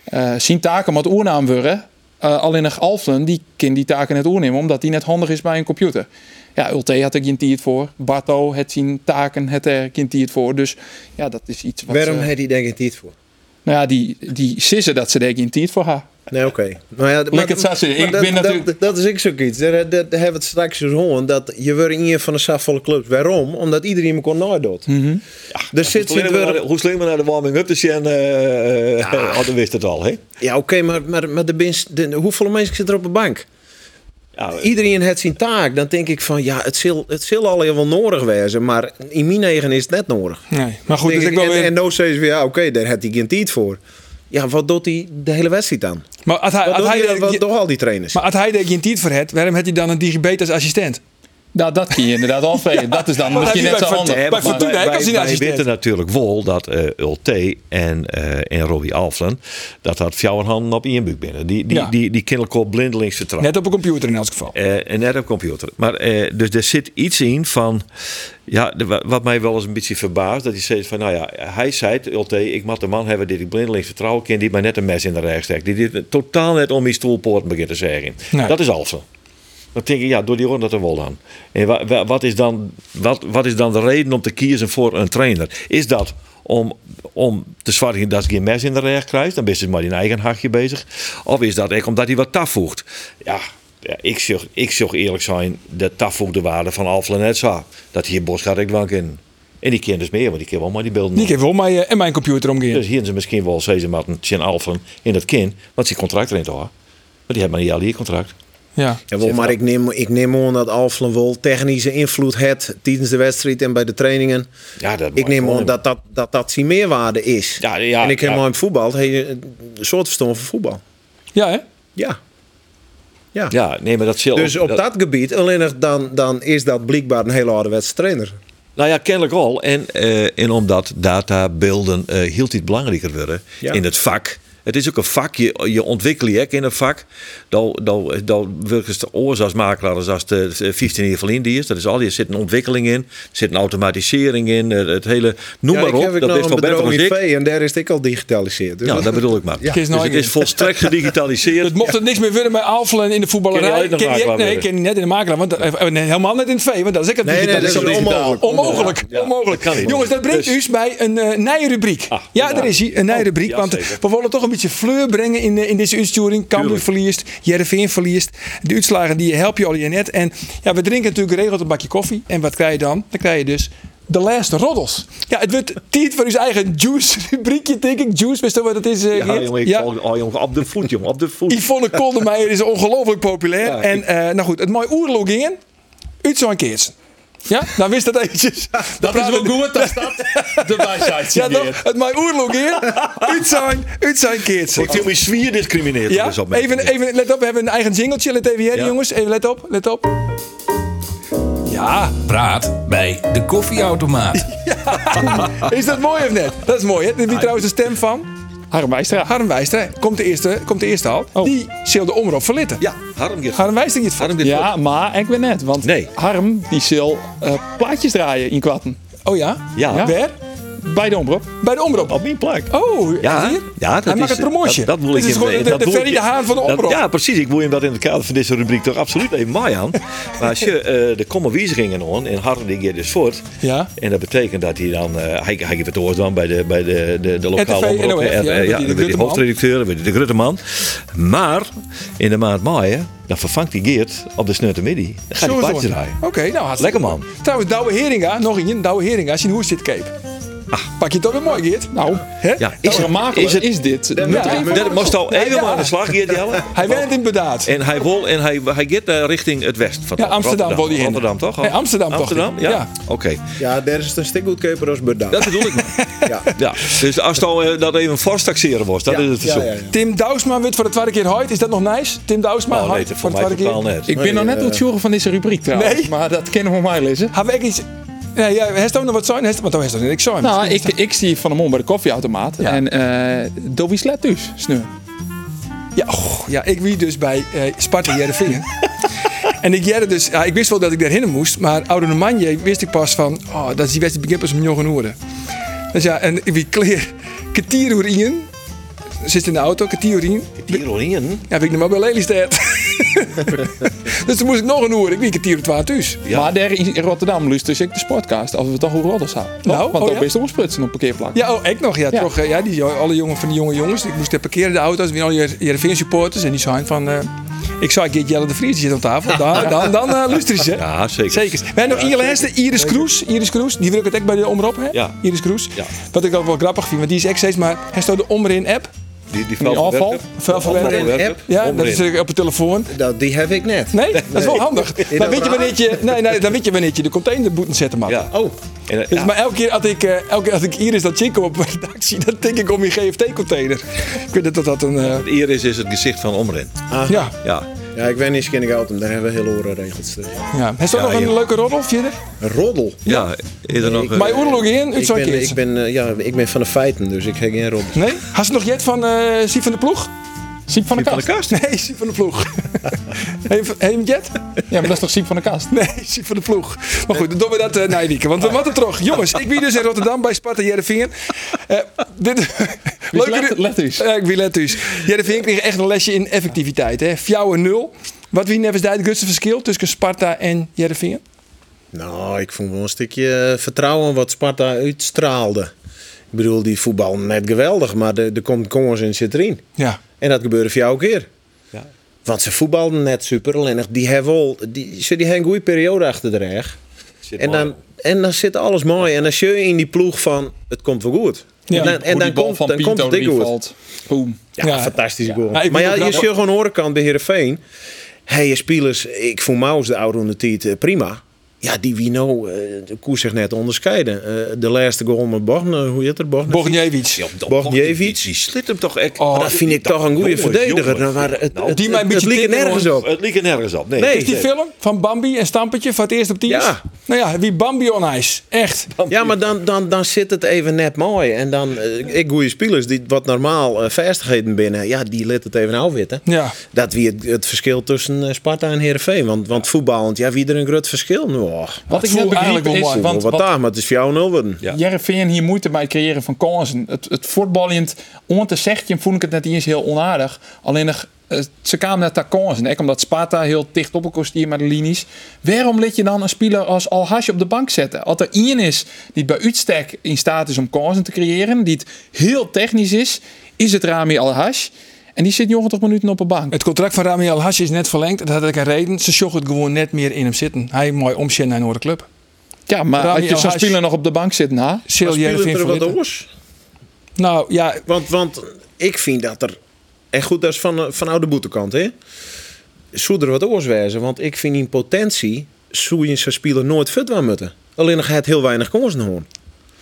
Eh zien taken mat oernaam worden. Eh, alleen nog Alflen, die kan die taken net oernemen. Omdat die net handig is bij een computer. Ja, Ulte had ik het voor. Barto het zien taken, het er het voor. Dus ja, dat is iets wat... Waarom ze- heeft hij denk ik niet voor? nou ja, die, die sissen dat ze daar geen tijd voor haar. Nee, oké. Nou ja, maar- het zo zeggen. maar Ik dat, ben dat- natuurlijk- dat is ik zoiets. Daar, daar, daar hebben we het straks dus horen. Dat je wordt in een van de safvolle clubs. Waarom? Omdat iedereen me kon nadoet. Mhm. Dus zit Hoe zit slim we naar de- weer... Hoe slim we naar de warming-up te zien, eh, eh, oh, dan wist het al, hè? Ja, oké, maar, maar, maar de, bins- de, hoeveel mensen zitten er op de bank? Ja, Oh, iedereen heeft zijn taak, dan denk ik van ja, het zal, het zal al heel wel nodig wezen, maar in mijn eigen is het net nodig. Nee. Maar goed, Denk dus ik, ik wel en, weer... en nou zeggen ze weer, ja, oké, daar had hij geen tijd voor. Ja, wat doet hij de hele wedstrijd aan? maar als Eh, hij, Wat, als doet, hij, hij, wat je- doen al die trainers? maar als hij daar geen tijd voor had, waarom had hij dan een digibet als assistent? Nou, dat kun je inderdaad afwegen. dat is dan Maar misschien heb je net zo bij handig. Fortuna- bij Maar- Fortuna heb ik al wij, zien wij assistent. weten natuurlijk wel dat eh Ulte en, eh en Robbie Alflen, dat had jouw handen op één buik binnen. Die, die, Ja. die, die kennelijk al blindelings vertrouwen. Net op een computer in elk geval. Eh, en net op computer. Maar eh, dus er zit iets in van. Ja, de- wa- wat mij wel eens een beetje verbaast. Dat hij zegt van. Nou ja, hij zei, het, Ulte, ik mag de man hebben die ik blindelings vertrouwen kan. Die mij net een mes in de rij steekt. Die dit totaal net om die stoelpoort begint te zeggen. Nee. Dat is Alfsen. Dan denk ik, ja, door die ronde dat er wel dan. En wa- wa- wat, is dan wat, wat is dan de reden om te kiezen voor een trainer? Is dat om, om te zwartigen dat ze geen mes in de rij krijgt? Dan is het maar in eigen hakje bezig. Of is dat echt omdat hij wat tafvoegt? Ja, ja, ik zeg ik zeg eerlijk zijn, de tafvoegde waarde van Alfred net zo. Dat hier Bos gaat ik dwang in. En die kind dus meer, want die kind wel maar die beelden. Nick heeft wel mij eh, en mijn computer omgaan. Dus hier zijn ze misschien wel zezen matten, Tjen Alphen in dat kind. Want zijn contract erin toch? Want die hebben maar niet al hier contract. Ja. Ja, wel, maar ik neem, ik neem aan dat Alflen wel technische invloed heeft tijdens de wedstrijd en bij de trainingen. Ja, dat ik mag neem wel. aan dat dat, dat, dat zijn meerwaarde is. Ja, ja, en ik heb ja. maar in voetbal hey, een soort verstand van voetbal. ja, hè? Ja. Ja. Ja, nee, maar Oh, dat zal. Dus op dat gebied, alleen nog dan, dan is dat blijkbaar een hele ouderwetse trainer. Nou ja, kennelijk al. En, eh, en omdat data, beelden, eh, heel iets belangrijker worden Ja. in het vak Het is ook een vak. Je, je ontwikkel je ook in een vak. Dan, dan, dan werken ze oors als makelaar als, als de 15 jaar van Indië is. Dat is al. Er zit een ontwikkeling in. Er zit een automatisering in. eh, Het het hele, noem maar ik heb op. ik Dat nog is een toch beter bedrijf dan in ik. vee en daar is het ook al digitaliseerd. Dus Ja, Nou, dat bedoel ik maar. Ja. Dus het is volstrekt gedigitaliseerd. nou Het mocht het niks meer worden met Alflen in de Ken voetballerij. je ook nog Ken je- makelaar nee, worden? ken je net in de makelaar. Want, eh, eh, nee, helemaal net in het vee, want dat is ik het nee, digitaal. dat is onmogelijk. Onmogelijk, onmogelijk. dat kan niet. Dus- Jongens, dat brengt Dus- u bij een eh nieuwe rubriek. Ah, ja, inderdaad. daar is hij, een nieuwe Oh, rubriek. ja, want zeker. we willen toch een beetje fleur brengen in, eh, in deze uitsturing. Cambuur Tuurlijk. verliest, Jereveen verliest. De uitslagen die helpen je al je net. En ja, we drinken natuurlijk geregeld een bakje koffie. En wat krijg je dan? Dan krijg je dus... De laatste roddels. Ja, het wordt tijd voor uw eigen juice-rubriekje, denk ik. Juice, wist je wat het is? eh, Ja, Geert? jongen, ik val- oh, jongen, op de voet, jongen, op de voet. Yvonne Koldermeijer is ongelooflijk populair. Ja, en eh, nou goed, het mooie oerloog gingen. Uit zo'n keertje. Ja, dan wist dat eventjes. Dat is wel goed, dat staat de wijsheid Ja, hier. dan, het mooie oerloog gingen. Uit zo'n, uit zo'n keertje. Ik vind mijn zwier discrimineerd. Ja, Dat is opmerkelijk. even, even, let op, we hebben een eigen jingletje. Let even hier, Ja. jongens. Even let op, let op. Ja, Praat bij de koffieautomaat. is dat mooi of net? Dat is mooi, hè? Dit is trouwens de stem van Harm Wijstra. Harm Wijstra. Oh. Komt de eerste, komt de eerste al. Die zil de omroep verlitten. Oh. Ja, Harm dit. Harm Wijstra niet van. Harm dit. Ja, maar ik ben net. Want Nee. Harm die zal eh, plaatjes draaien in kwatten. Oh ja? Ja. Ja. Waar? Bij de omroep. Bij de omroep. Op mijn plek. Oh, Ja, hier? ja dat Hij is, maakt het promotie. Dat, dat wil Dit ik is hem- gewoon de- dat de wil Ferry ik- de Haan van de dat- omroep. ja, precies. Ik wil hem dat in het kader van deze rubriek toch absoluut even mooi aan. Maar als je eh, er komen wijzigingen aan en Harm die gaat dus voort. Ja. En dat betekent dat hij dan, eh, hij, hij geeft het oors dan bij de, bij de, de, de lokale RTV, omroep. NOF, ja, eh, dan wordt hij de dan wordt hij Grutteman. hoofdredacteur, dan wordt hij de Grutteman. Maar in de maand mei, hè, dan vervangt hij Geert op de Sneutermiddag. Dan gaat hij Sowieso. plaatjes draaien. Oké, nou hartstikke Lekker, man. goed. Trouwens, Douwe Heringa, nog een, Douwe Heringa, zien hoe zit Cape. Pak je het toch weer mooi, Geert? Nou, hè? Ah. Ja, Is, is het, is, is dit? Ja, hij dat moest al even Ja, ja. maar aan de slag, Geert Jelle. hij werkt in Bedaard. En hij wil en hij, hij gaat eh, richting het west van Ja, Amsterdam wil die Rotterdam, in. Rotterdam toch? Nee, Amsterdam toch? Amsterdam, ja. Ja. Oké, Ja, daar is het een stuk goedkoper als Berdam. dat bedoel ik. maar. Ja. ja. Dus als het al, eh, dat even fors taxeren was, dat is het verzoek. Ja, ja, ja. Tim Douwsma wordt voor de tweede keer huid. Is dat nog nice? Tim Douwsma Oh, nee, huid voor mij totaal net. Ik ben nog net aan het joren van deze rubriek trouwens. Nee. Maar dat kennen we mij lezen. Hebben we ook iets... Nee, ja, heeft ook nog wat zijn? Heeft- Want dan heeft er niks zijn. Nou, ik, ik zie van de mond bij de koffieautomaat. En eh Dobby slept dus, sneu. Ja, och, ja, ik wie dus bij eh Sparta Jerevingen. en ik jerde dus, ja, ik wist wel dat ik daarheen moest, maar oude Normandie wist ik pas van, oh, dat is die wedstrijd begint pas om jongen horen. Dus ja, en ik wie kleer, ketieroerien, zit in de auto, ketieroerien, Tirolien? ja, heb ik nog maar bij Lelystad. dus toen moest ik nog een hoer, ik wie ketier het thuis. Ja. Maar daar in Rotterdam lust dus ik de sportcast. Als we toch hoe roddels houden. Nou, Want oh dan ja? is het omsprutsen op parkeerplak. Ja, oh, ik nog. Ja, Ja. Toch, eh, ja die, alle jongen van die jonge jongens. Ik moest daar parkeren de auto's. Weer al je Jereveen supporters. En die zijn van... eh, ik zag Geert Jelle de Vries die zit aan tafel. Dan, dan, dan eh, luisteren ze. Ja, zeker. Zeker. We hebben nog Iris Hester, Iris Kroes. Iris Kroes, die werkt ook bij de omroep, hè? Ja. Iris Kroes. Ja. Wat ik ook wel grappig vind, want die is echt steeds maar... Hij staat de Omrin-app. Die, die Die afval? vuilverwerker. Vuilverwerker. Vuilverwerker. Ja, dat Omrin. is natuurlijk op de telefoon. Dat, die heb ik net. Nee, dat is wel handig. Maar weet je wanneer je... Nee, nee, dan weet je wanneer je de containerboeten zetten mag. Ja. Oh, En, eh, Dus ja. maar elke keer, als ik, eh, elke keer als ik Iris dat chick op mijn dak zie, dan denk ik om je GFT-container. Ik weet niet dat dat een... eh, Iris is dus het gezicht van Omrin. ja, Ja. ja, ik ben niet skinnig oud, maar daar hebben we hele horen regels. Dus. ja. Heeft dat Ja, nog een joh. leuke roddel verder? Roddel. Ja, is er nog... eh, Bij oorlog in, uit Ik zo'n ben, ik, keertje. ben, eh, ja, ik ben van de feiten, dus ik heb geen roddel. Nee? Had ze nog Jet van eh Siep van de Ploeg? Siep van de van de kast. kast? Nee, Siep van de Ploeg. Heem, heem Jet? Ja, maar dat is toch Siep van de kast? Nee, Siep van de Ploeg. Maar goed, dan doen we dat eh na Want we wat er toch. Jongens, ik wie dus in Rotterdam bij Sparta Jereveen. Eh dit... let- ru- let dus. Ja, ik wie let dus. Jereveen kreeg echt een lesje in effectiviteit. hè? Fjouwer nul. Wat wie nevens daar het grootste verschil tussen Sparta en Jereveen? Nou, ik vond wel een stukje eh, vertrouwen wat Sparta uitstraalde. Ik bedoel, die voetbal net geweldig, maar de- er komt jongens in zit erin. Ja. En dat gebeurde voor jou ook weer. Ja. Want ze voetbalden net super, alleen nog die hebben wel, die, ze die hebben een goede periode achter de rug. Zit En mooi. dan, en dan zit alles mooi. En dan zie je in die ploeg van, het komt wel goed. Ja. en dan, en Hoe dan die bal komt, van dan Pinto komt het die ook goed. valt. Boom. Ja, Ja. fantastische goal. Nou, Ja, ik maar vind ja, het je ook ziet wel- gewoon aan de andere kant bij Heerenveen. Hey, je spelers, ik voel Maus de oude onder tijd eh, prima. Ja, die Wino, eh de koers zich net onderscheiden. Eh, de laatste goal met Born, eh, hoe heet het? Born? Bogniewicz. Bogniewicz. Die slit hem toch echt. Oh, dat vind ik toch een goede Jongens, verdediger. jongens. Nou, maar het, Nou, het, die mij een het, het beetje liep er tikken, nergens hoor. op. Het liep er nergens op. Nee, Nee. Is die film van Bambi en Stampetje voor het eerst op tiers? Ja. Nou ja, wie Bambi on ijs. Echt. Ja, maar dan, dan, dan zit het even net mooi. En dan, eh, ik goede spelers die wat normaal eh, vestigheden binnen, ja, die let het even afwitten. Ja. Dat wie het, het verschil tussen eh, Sparta en Heerenveen. Want, want voetballend, ja, wie er een groot verschil? Nou, och, Wat ik voel net eigenlijk begreep wel is, mooi. want wat, wat daar, maar het is voor jou nul worden. Ja. Jereveen hier moeite bij creëren van kansen. Het, het voetballend, om te zeggen, vond ik het net eens heel onaardig. Alleen nog, eh, ze kwamen net naar kansen. Ook omdat Sparta heel dicht op elkaar stier met de linies. Waarom liet je dan een speler als Al Hasje op de bank zetten? Als er één is die bij uitstek in staat is om kansen te creëren, die het heel technisch is, is het Rami Al Hash. En die zit 90 minuten op de bank. Het contract van Rami El Hassi is net verlengd. Dat had ik een reden. Ze zocht het gewoon net meer in hem zitten. Hij mooi omzien naar een andere club. Ja, maar Rami als je Al zo'n Hash- speler nog op de bank zit, na. Sil Maar spelen Jereveen er voor wat Lippe. oors? Nou ja, Want, want ik vind dat er. En goed, dat is van, eh, van oude boetekant, hè? Zou er wat oors wijzen, want ik vind in potentie. zou je zo'n speler nooit fit wel moeten. Alleen nog het heel weinig kansen horen.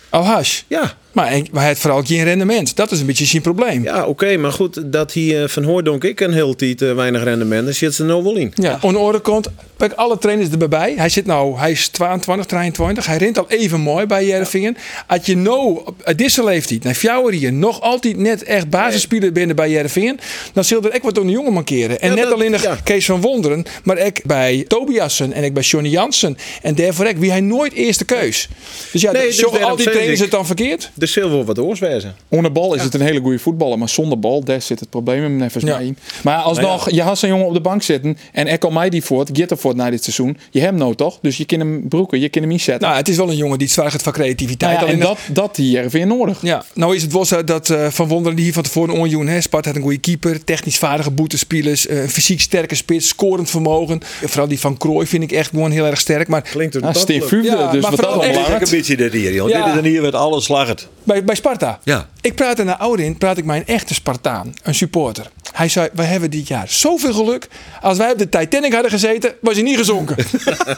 Al Hash. Ja, Maar hij maar hij heeft vooral geen rendement. Dat is een beetje zijn probleem. Ja. ja oké, maar goed, dat hier eh, van Hooydonk ik een heel tijd eh, weinig rendement. Dan zit ze nou wel in. Aan de orde komt, pak alle trainers erbij bij. Hij zit nou, hij is 22, 23. Hij rent al even mooi bij Jervingen. Had je nou, op- uit deze leeftijd, naar jouw hier, nog altijd net echt basisspeler binnen bij Jervingen, dan zult er echt wat aan de jongen mankeren. En Ja, net dat- alleen nog ja. Kees van Wonderen, maar ook bij Tobiassen en ik bij Johnny Jansen. En daarvoor ook, wie hij nooit eerste keus. Dus ja, Nee, nee, dus al daarom die zeg trainers ik- het dan verkeerd? Er zit wel wat oors wijzen. Onder bal is het een hele goede voetballer, maar zonder bal, daar zit het probleem hem even Ja. mij in. Maar alsnog, je had zo'n jongen op de bank zitten en Echo mij die voort, get ervoor na dit seizoen. Je hebt hem nou toch? Dus je kan hem broeken, je kan hem inzetten. Nou, het is wel een jongen die het zwaar gaat van Nou creativiteit. ja, Alleen en nog- dat, dat hier weer nodig. Ja, nou is het wel zo dat eh, Van Wonderen die hier van tevoren onjoen hè. Sparta had een goede keeper, technisch vaardige boetespielers, eh, een fysiek sterke spits, scorend vermogen. Vooral die van Krooi vind ik echt gewoon heel erg sterk. Maar Klinkt Nou, het Steen Vuurde, Ja, dus maar wat vooral dat echt- dan Dit is ook belangrijk. een beetje dit hier, jongen. Ja. Oh, Dit is een hier met alles slagend. bij, bij Sparta, Ja. ik praatte naar Oudin, praat ik mijn echte Spartaan, een supporter. Hij zei, we hebben dit jaar zoveel geluk. Als wij op de Titanic hadden gezeten, was hij niet gezonken.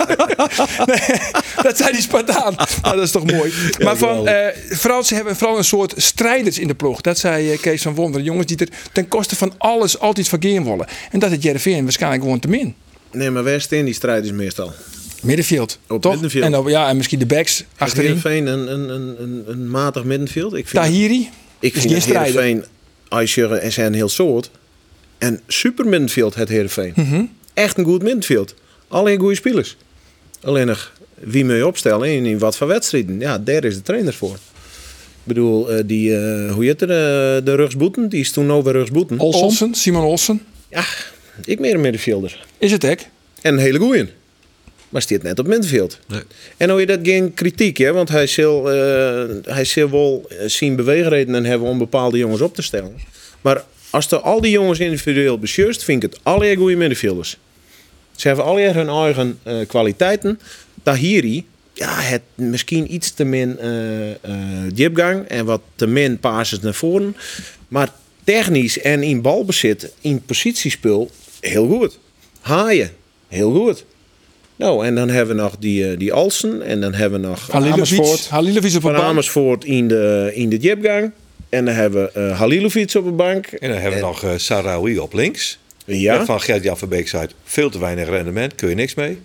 nee, dat zei die Spartaan. Nou, dat is toch mooi. maar van, eh vooral, ze hebben vooral een soort strijders in de ploeg. Dat zei eh, Kees van Wonderen. Jongens die er ten koste van alles altijd verkeer willen. En dat het Jereveen waarschijnlijk gewoon te min. Nee, maar waar staan die strijders meestal? Middenveld, Op toch? middenveld. En, op- ja, en misschien de backs Is achterin. Heerenveen een, een, een, een, een matig middenveld? Ik vind Tahiri. Ik Is vind geen dat strijder. Heerenveen, als je er zijn heel soort, en super middenveld het Heerenveen. Mhm. Echt een goed middenveld. Alleen goede spelers. Alleen nog wie moet je opstellen en in wat voor wedstrijden. Ja, daar is de trainer voor. Ik bedoel, eh, die, eh, hoe heet het, eh, de Rugsboeten, die is toen over Rugsboeten. Olsen, Simon Olsen. Ja, ik meer een middenvelder. Is het hek? En een hele goeie. Maar stiert net op middenveld. En hoor je dat geen kritiek, hè? want hij zal, eh, hij zal wel eh, zien beweegredenen hebben om bepaalde jongens op te stellen. Maar als er al die jongens individueel besjeust, vind ik het alle goede middenvelders. Ze hebben alle hun eigen eh, kwaliteiten. Tahiri, ja, het misschien iets te min eh, eh, diepgang en wat te min passes naar voren. Maar technisch en in balbezit, in positiespul, heel goed. Haaien, heel goed. Nou, en dan hebben we nog die, eh, die Alsen en dan hebben we nog Halilovic. Amersfoort. Halilovic op een van bank. Amersfoort in de, in de diepgang. En dan hebben we eh, Halilovic op de bank. En dan hebben we nog eh, Sarawi op links. Ja. Van Gert-Jan van Beek zei, veel te weinig rendement, kun je niks mee.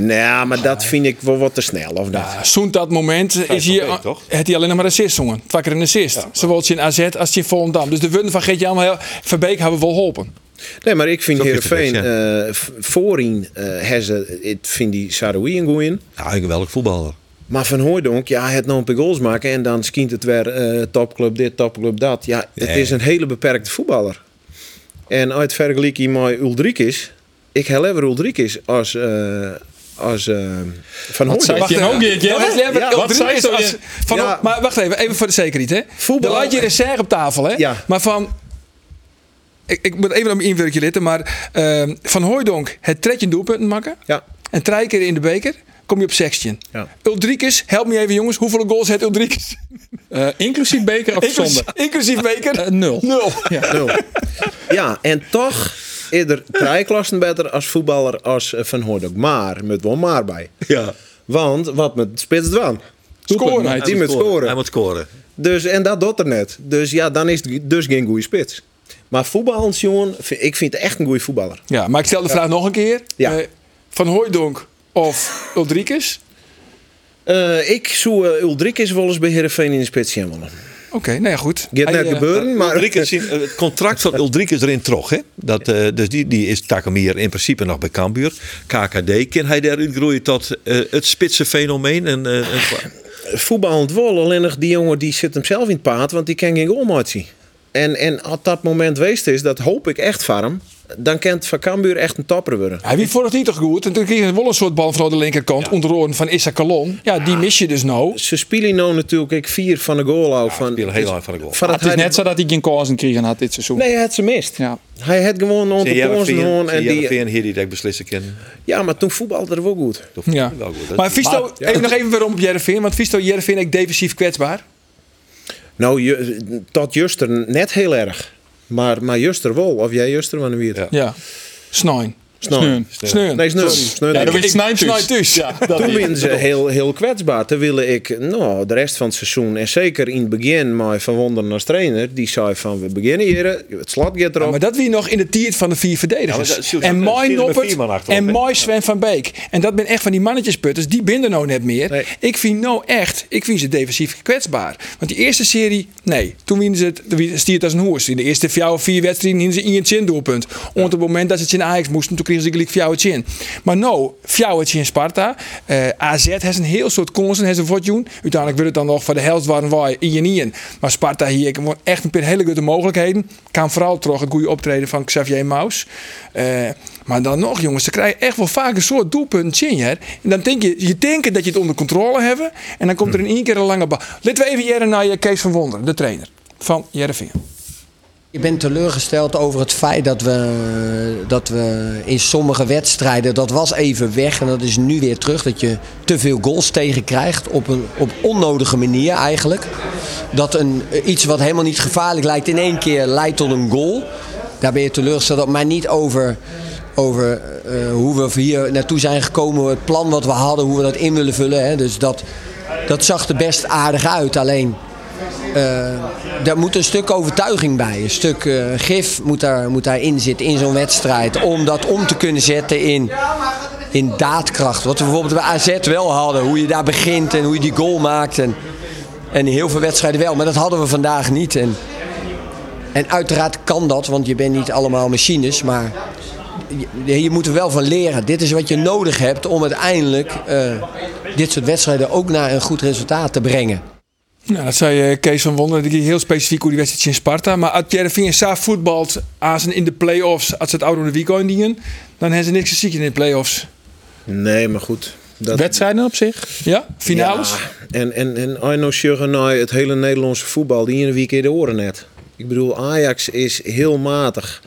Nou, maar dat vind ik wel wat te snel, of niet? Ah, Ja, Zoend dat moment Vijf is van hier, Beek, toch? heeft hij alleen nog maar assist zongen. Het Vaker een assist. Zowel in AZ als in Volendam. Dus de wunnen van Geertje allemaal heel... Van Beek hebben we wel geholpen. Nee, maar ik vind Zo vind je Heerenveen het, eh, v- voorin eh herze, ik vind die Saroui een goeie. Ja, Nou, een geweldig voetballer. Maar Van Hooijdonk, ja, het nou een paar goals maken en dan skient het weer eh, topclub dit, topclub dat. Ja, het Nee. is een hele beperkte voetballer. En uit vergelijking met Ulrikis, ik heb liever Ulrikis als, eh, als eh, Van Wat zei Hooijdonk. je nou, Geert Nou, Jelle? het leven- Ja, Elk wat drie zei is ze als- je? nou? van- Ja. Maar wacht even, even voor de zekerheid. Hè. Voetbal- Dan laat je reserve op tafel. Hè. Ja. Maar van... Ik, ik moet even op mijn inwerkje letten. Maar ehm, Van Hooijdonk, het tretje doelpunten maken. Ja, En drie keer in de beker. Kom je op 16. Ja. Uldrikus, help me even jongens. Hoeveel goals heeft Uldrikus? Eh, inclusief beker of zonder? Eh, Inclusief beker? Eh, nul. Nul. nul. ja, en toch eerder drie klassen beter als voetballer als eh, Van Hoordok. Maar, met wel maar bij. Ja. Want, wat met spits dwan? Scoren. Die moet Hij scoren. moet scoren. Dus, en dat doet er net. Dus ja, dan is het dus geen goede spits. Maar voetballend, jongen, v- ik vind het echt een goede voetballer. Ja, maar ik stel de vraag nog een keer. Ja. Eh, van Hooijdonk of Ulrikes? Eh, ik zou eh, Ulrikes wel eens bij Heerenveen in de spits zien willen. Oké, nou ja, goed. Gaat Hij, net eh, gebeuren, maar... Ulrike zien- eh, het contract van Ulrike is erin trog. Hè? Dat, eh, dus die, die is Takamier in principe nog bij Cambuur. KKD kan hij daar uitgroeien tot eh, het spitse fenomeen. En, eh, en- voetballend wel, alleen nog die jongen die zit hem zelf in het paard, want die kan geen goal meer zien. En, en als dat moment geweest is, dat hoop ik echt van hem, dan kent Van Cambuur echt een topper worden. Hij wie vorig niet toch goed. En toen kreeg hij wel een soort bal van de linkerkant. Onder oren van Issa Kalon. Ja, die mis je dus nou. Ze spelen nou natuurlijk ik vier van de goal af. van, dus spelen heel hard van de goal. Van Het is net zo dat hij geen kansen kregen had dit seizoen. Nee, hij had ze mist. Ja. Hij had gewoon onder de kansen gewoon en die, Jereveen hier die dat beslissen kan. Ja, maar toen voetbalde er wel goed. Dat Ja. wel goed. Maar Visto, even nog even waarom op Jervin. Want Visto Jervin ik defensief kwetsbaar. Nou, je, dat Juster net heel erg. Maar, maar Juster wel, of jij Juster, wanneer wie het? Ja. Ja. Snijn. Sneu. Sneuren. Nee, Sneu. Sneu. Ja, dat Ik- is Snijn dus. dus. Toen ben ze heel, heel kwetsbaar. Toen wilde ik nou, de rest van het seizoen, en zeker in het begin, maar Van Wonderen als trainer, die zei van we beginnen hier, het slot gaat Ja, erop. maar dat wie nog in de tiert van de vier verdedigers. Ja, maar dat- Sjoerd, en dat- dat Mooi vielen er Noppert vier man achterop, en hè? Mooi Sven van Beek. En dat ben echt van die mannetjesputters. Die binden nou net meer. Nee. Ik vind nou echt, ik vind ze defensief kwetsbaar. Want die eerste serie, nee. Toen winnen ze het, toen winnen- stiert als een hoers. In de eerste vier of vier wedstrijden hielden ze in chin doelpunt. Op het moment dat ze het in Ajax moesten, toen kregen ze gelijk vier het chin. Maar nou, vier het chin Sparta. Eh, AZ heeft een heel soort constant, heeft een fortune. Uiteindelijk wil het dan nog voor de helft waren wij in je nieën. Maar Sparta hier, ik heb gewoon echt een paar hele goede mogelijkheden. Kan vooral terug het goede optreden van Xavier Maus. Eh, maar dan nog, jongens, ze krijgen echt wel vaak een soort doelpunt in. Hè? En dan denk je, je denkt dat je het onder controle hebben. En dan komt er in één keer een lange bal. Laten we even jaren naar eh, Kees van Wonderen, de trainer van Jereveen. Ik ben teleurgesteld over het feit dat we, dat we in sommige wedstrijden, dat was even weg en dat is nu weer terug, dat je te veel goals tegenkrijgt op een op onnodige manier eigenlijk. Dat een, iets wat helemaal niet gevaarlijk lijkt in één keer leidt tot een goal. Daar ben je teleurgesteld op, maar niet over, over eh, hoe we hier naartoe zijn gekomen, het plan wat we hadden, hoe we dat in willen vullen. Hè. Dus dat, dat zag er best aardig uit, alleen Eh, daar moet een stuk overtuiging bij. Een stuk eh, gif moet, daar, moet daarin zitten in zo'n wedstrijd. Om dat om te kunnen zetten in, in daadkracht. Wat we bijvoorbeeld bij AZ wel hadden. Hoe je daar begint en hoe je die goal maakt. En, en heel veel wedstrijden wel. Maar dat hadden we vandaag niet. En, en uiteraard kan dat, want je bent niet allemaal machines. Maar je, je moet er wel van leren. Dit is wat je nodig hebt om uiteindelijk eh, dit soort wedstrijden ook naar een goed resultaat te brengen. Nou, dat zei eh, Kees van Wonderen, die heel specifiek hoe die wedstrijd in Sparta. Maar als Jereveen sa voetbalt als ze in de play-offs, als ze het oude de week indienen, dan hebben ze niks te zien in de play-offs. Nee, maar goed. Dat, Wedstrijden op zich. Ja? Finales? Ja, en en, en Arno Sjuggenai, het hele Nederlandse voetbal, die in een week in de oren net. Ik bedoel, Ajax is heel matig.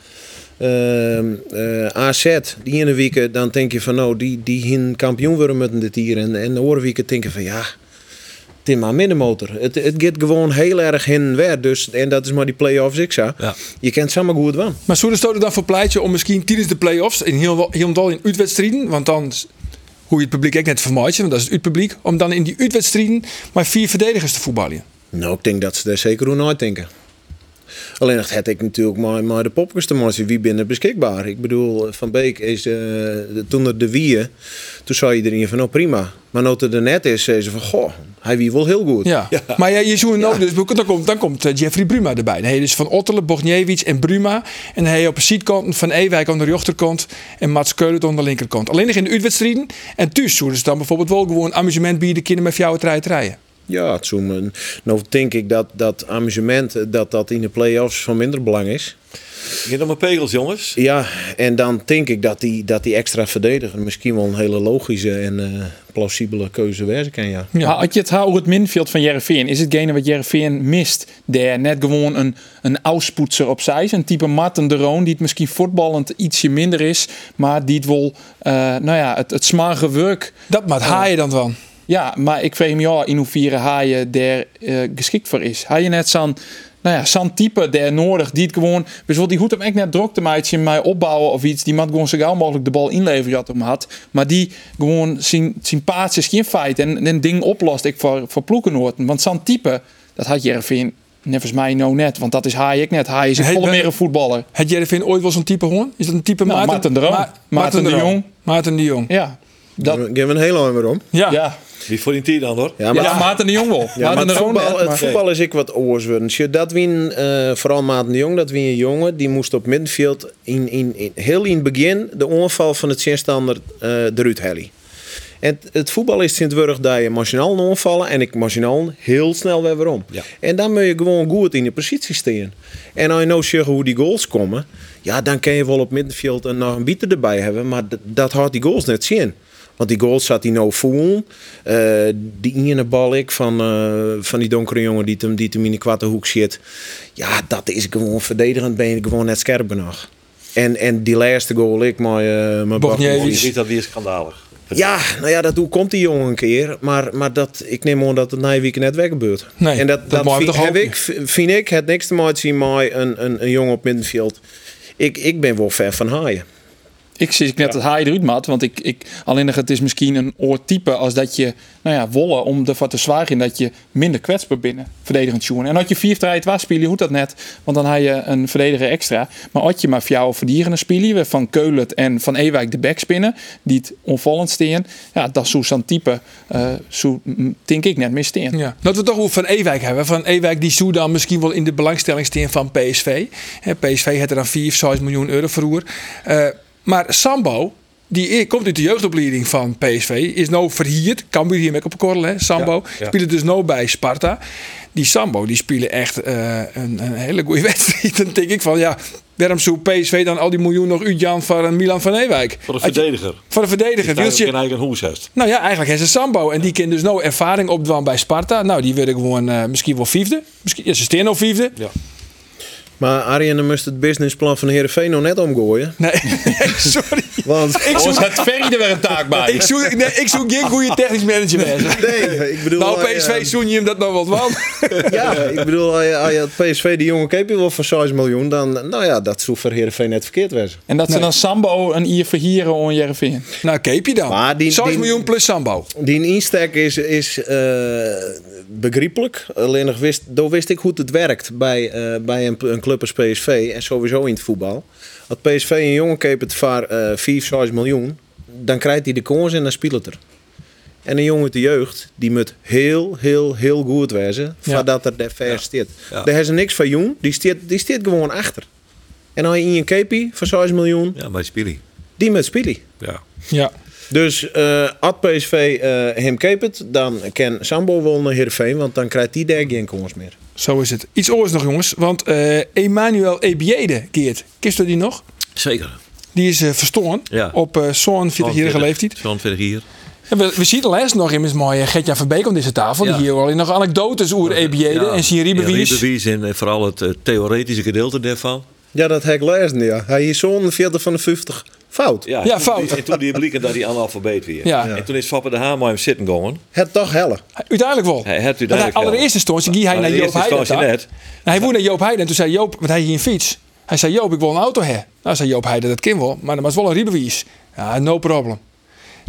Ehm, eh, AZ, die ene week, dan denk je van nou, die, die hin kampioen worden met dit hier. En, en de andere weken denk je van ja, het is maar middenmotor. Het, het gaat gewoon heel erg hin en weer. Dus, en dat is maar die play-offs ik zou. Ja. Je kent samen goed wel. Maar zullen ze er dan voor pleiten om misschien tijdens de play-offs, in heel, heel wel in uitwedstrijden, want dan s- hoe je het publiek ook net vermaaien, want dat is het uitpubliek, om dan in die uitwedstrijden maar vier verdedigers te voetballen. Nou, ik denk dat ze daar zeker hoe nooit denken. Alleen dat had ik natuurlijk maar, maar de popkens te maken. Wie binnen beschikbaar? Ik bedoel, Van Beek is eh, de- toen er de wieën, toen zei iedereen van nou prima. Maar nou er net is, zei ze van goh, hij wie wel heel goed. Ja. Maar ja, je zoekt nou dus, dan komt, dan komt eh, Jeffrey Bruma erbij. Dan heb je dus Van Ottelen, Bogniewicz en Bruma. En dan heb je op de zijkant Van Ewijk aan de rechterkant en Mats Keulen aan de linkerkant. Alleen nog in de uitwedstrijden. En thuis zullen ze dan bijvoorbeeld wel gewoon amusement bieden kinderen met jouw trein te rijden. Ja, het zoomen. Nou denk ik dat dat amusement, eh, dat dat in de play-offs van minder belang is. Je hebt nog maar pegels, jongens. Ja, en dan denk ik dat die, dat die extra verdediger misschien wel een hele logische en eh, plausibele keuze wezen kan, ja. Maar had je het hou het minfield van Jereveen, is hetgene wat Jereveen mist, daar net gewoon een, een auspoetser opzij is. Een type Martin de Roon die het misschien voetballend ietsje minder is, maar die het wel, eh, nou ja, het, het smarige werk. Dat maakt haaien dan van. eh, Ja, maar ik vraag me ja in hoeverre hij je daar eh, geschikt voor is. Hij je net zo'n nou ja, zo'n type der nodig die het gewoon, bijvoorbeeld die hoeft hem echt net druk te maken, mij opbouwen of iets, die moet gewoon zo gauw mogelijk de bal inleveren had hem had, maar die gewoon zijn, zijn paadjes geen feit en een ding oplost ik voor, voor Ploekenoorten, want zo'n type, dat had Jervin volgens mij nou net, want dat is Haai ik net, Haai is een Hij- volle meer een voetballer. Had Jervin ooit wel zo'n type hoorn? Is dat een type Nou, Maarten, Maarten de Roon. Ma- Maarten de Jong. Maarten de Jong. Ja, dat, Daar gaan we een hele lang weer om. Ja. ja. Wie voor die tien dan hoor? Ja, Ja, maar, Maarten de Jong wel. ja, maar Maarten de het, Roon voetbal, net, het maar- voetbal is ik wat oorswurrend. Je- Dat wien, eh vooral Maarten de Jong, dat wien een jongen. Die moest op middenveld in, in, in, heel in het begin de onval van het tegenstander eh eruit hellen. En het, het voetbal is sinds wurg dat je marginaal onvallen en ik marginaal heel snel weer weer om. Ja. En dan moet je gewoon goed in de positie staan. En als je nou ziet hoe die goals komen, ja, dan kan je wel op middenveld een, nog een bieter erbij hebben, maar d- dat houdt die goals net zien. Want die goals zat hij nou voel. Eh, die ene bal ik van, eh, van die donkere jongen die hem, die hem in de kwarte hoek zit. Ja, dat is gewoon verdedigend. Ben je gewoon net scherp genoeg. En, en die laatste goal ik, maar eh mijn Je Bogniewicz. ziet dat weer schandalig. Ja, nou ja, dat hoe komt die jongen een keer. Maar, maar dat, ik neem aan dat het na je weekend net weg gebeurt. Nee, en dat dat, dat, mag vind, toch ook heb ik, vind ik het niks te maken zien met een, een, een jongen op middenveld. Ik, ik ben wel ver van haaien. Ik zie ik net het haai eruit mat, want ik, ik, alleen nog, het is misschien een oortype als dat je, nou ja, wollen om ervan te zwagen in dat je minder kwetsbaar binnen verdedigend joen. En had je vier strijd was spelen, hoe dat net, want dan had je een verdediger extra. Maar had je maar voor jou verdieren spelen, we van Keulet en van Ewijk de back spinnen, die het onvallend steen, ja, dat is zo'n type, eh zo mm, denk ik net meer steen. Ja. Dat we toch over Van Ewijk hebben. Van Ewijk die zou dan misschien wel in de belangstelling staan van PSV. Hè, PSV had er dan 4, 6 miljoen euro verroer. Eh, maar Sambo, die i- komt uit de jeugdopleiding van PSV, is nou verhierd. Cambuur hier met op korrel, hè? Sambo. Ja, ja. Speelt dus nou bij Sparta. Die Sambo, die spelen echt eh, een, een hele goede wedstrijd. Dan denk ik van, ja, waarom zou PSV dan al die miljoen nog uit Jan van eh, Milan van Ewijk? Voor een Had je- verdediger. Voor een Die verdediger. Dus je- eigenlijk een eigen hoes heeft. nou ja, eigenlijk is het Sambo. En die kan dus nou ervaring opdwan bij Sparta. Nou, die werden gewoon eh, misschien wel vijfde. Misschien, ja, ze staan al vijfde. Maar Arjen, dan moest het businessplan van Heerenveen nog net omgooien. Nee, sorry. Want Ik Ons zoek, had Ferry er weer een taak bij. ik zoek, nee, ik zoek geen goede technisch manager mensen. nee, ik bedoel... Nou, eh, PSV zoen je hem dat nou wat wel. Ja, ik bedoel, als je, als je het PSV die jongen keept wel voor 6 miljoen, dan, nou ja, dat zou voor Heerenveen net verkeerd wezen. En dat ze dan Sambo een ier verhieren om Jervin. nou, keep je dan. Maar die- 6 die- miljoen plus Sambo. Die insteek is, is eh, begrijpelijk. Alleen nog wist, daar wist ik hoe het werkt bij, eh, bij een, een club als PSV en sowieso in het voetbal. Als PSV een jongen keept voor eh 5, 6 miljoen, dan krijgt hij de kans en dan speelt het er. En een jongen uit de jeugd, die moet heel, heel, heel goed wezen voordat er de ver zit. Ja. Daar is er niks van jong, die zit die zit gewoon achter. En als je in een keepie van 6 miljoen, Ja, bij Spili. die moet spelen. Ja. Ja. Dus eh at PSV eh, hem keep het, dan kan Sambo wel naar Heerenveen, want dan krijgt die daar geen kans meer. Zo is het. Iets anders nog, jongens. Want eh, Emmanuel Ebiede, Geert, kist u die nog? Zeker. Die is eh verstoren Ja. op eh zo'n 40-jarige leeftijd. Zo'n 40 hier. Ja, we, we zien de les nog in mooi Gertjan van Beek om deze tafel. Ja. Die hier al in nog anekdotes over EBJ'den Ja. E en zien Ja, Riebewies. Riebewies en eh, vooral het eh, theoretische gedeelte daarvan. Ja, dat heb ik gelezen, ja. Hij is zo'n 40 van de 50 fout. Ja, Ja, toen fout. die- en toen die blikken dat hij analfabeet weer. Ja. En toen is Fappen de Haan met hem zitten gegaan. Het toch helle. Uiteindelijk wel. Hij had u Want hij, duidelijk allereerst instantie ging hij naar Joop Heijden. instantie daar. net. Nou, hij woonde naar Joop Heijden en toen zei Joop, want hij ging een fiets. Hij zei, Joop, ik wil een auto hebben. Nou, zei Joop Heijden, dat kan wel, maar dat was wel een Riebewies. Ja, no problem.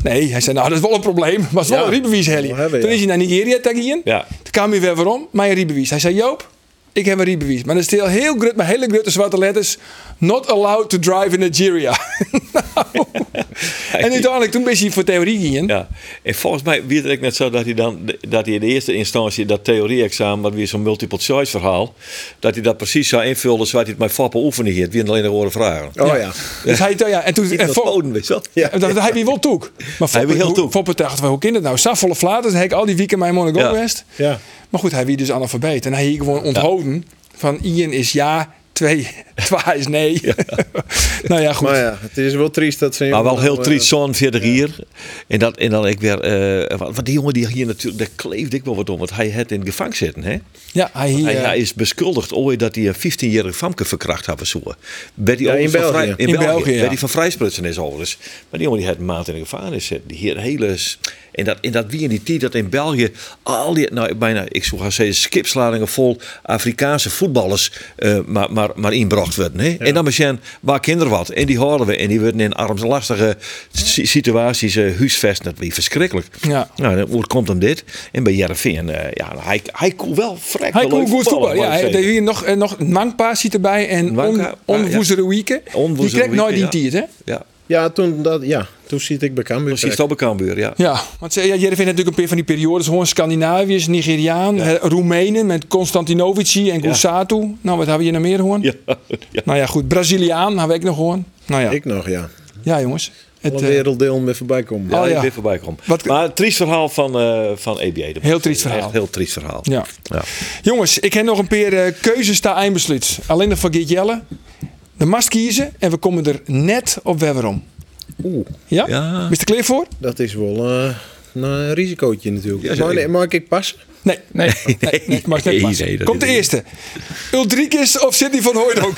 Nee, hij zei, nou, dat is wel een probleem, maar het is wel Ja. een Riebewies, Helly. Wel hebben, Toen ja. is hij naar Nigeria tegen Ja. Toen kwam hij weer waarom, maar een Riebewies. Hij zei, Joop, ik heb een Riebewies. Maar er staan heel grut, maar hele grote zwarte letters. Not allowed to drive in Nigeria. nou. En uiteindelijk, toen ben hij voor theorie gingen. Ja. En volgens mij werd het ook net zo dat hij dan dat hij in de eerste instantie dat theorie-examen, wat weer zo'n multiple choice verhaal, dat hij dat precies zou invullen zoals hij het met Fappen oefenen hier. Het waren alleen nog horen vragen. Oh ja. Dus hij, ja, en toen, en Dat Fok- Foden, weet je wel? Ja. Ja. Eh, Dat, dat heb je wel toek. Maar Hij wil heel Foppe- toek. Foppe dacht, van, hoe kind het nou? Saf volle flaters, heb ik al die weekend mijn Monaco Ja. West. Ja. Maar goed, hij wie dus analfabeet. En hij hier gewoon onthouden van Ian is ja, twee, twaais, nee. nou ja, goed. Maar ja, het is wel triest dat ze... Maar wel heel eh, triest, zo'n 40 hier. En, dat, en dan ik weer... eh, want want die jongen die hier natuurlijk... Daar kleefde ik wel wat om. Want hij had in de gevangen zitten, hè? Ja, hij hier. Hij, eh, hij is beschuldigd ooit dat hij een 15-jarige famke verkracht had zo. Bij die Ja, in overigens van België. vrij- in, In België. België, ja. Bij die van vrijsprutsen is overigens. Maar die jongen die had een maand in de gevangenis zitten. Die hier hele... s- En dat, en dat wie in die tijd dat in België al die, nou bijna, ik zou gaan zeggen, skipsladingen vol Afrikaanse voetballers eh, maar, maar, maar inbracht werden. Hè? En dan misschien waar kinderen wat. En die horen we. En die werden in armslastige si- situaties eh huisvest. Dat was verschrikkelijk. Ja. Nou, dan- hoe komt hem dit? En bij Jereveen, eh ja, hij, hij kon wel vrij Hij wel kon leuk goed voetballen. Ja, wou ik hij deed zeggen. hier nog, eh, nog Nangpa zit erbij en Nwanka, on, ah, on ja. Woezerewieke. Die Onwoezerewieke, krijgt nooit die ja. tiert, hè? Ja, Ja, toen, dat, ja, toen zit ik bij Cambuur. precies dat bij Cambuur, ja. Ja, want ze- ja, Jereveen heeft natuurlijk een paar van die periodes. Gewoon Scandinaviërs, Nigeriaan, eh, Roemenen met Constantinovici en Gusatu. Nou, wat hebben we hier nog meer gewoon? Ja, ja. Nou ja, goed. Braziliaan hebben we ook nog gewoon. Nou ja, Ik nog, ja. ja jongens. Het, Alle eh, werelddeel mee voorbij komen. Ja, Oh, die ja. weer voorbij kwam. Wat- maar een triest verhaal van, eh van EBA. dat moet Heel ik triest zeggen. verhaal. Echt heel triest verhaal. ja. Ja. Jongens, ik heb nog een paar eh, keuzes daar eindbesluit. Alleen nog van Geert Jelle. De mast kiezen en we komen er net op weer weer om. Oeh, Ja? Ja. Is er klaar voor? dat is wel eh, een risicootje natuurlijk. Ja, maar, zeker. nee, mag ik passen? Nee. Nee, Nee, nee, mag net Nee, passen. nee, dat Komt de is niet. eerste. Ulrikis of Sidney van Hooydonk?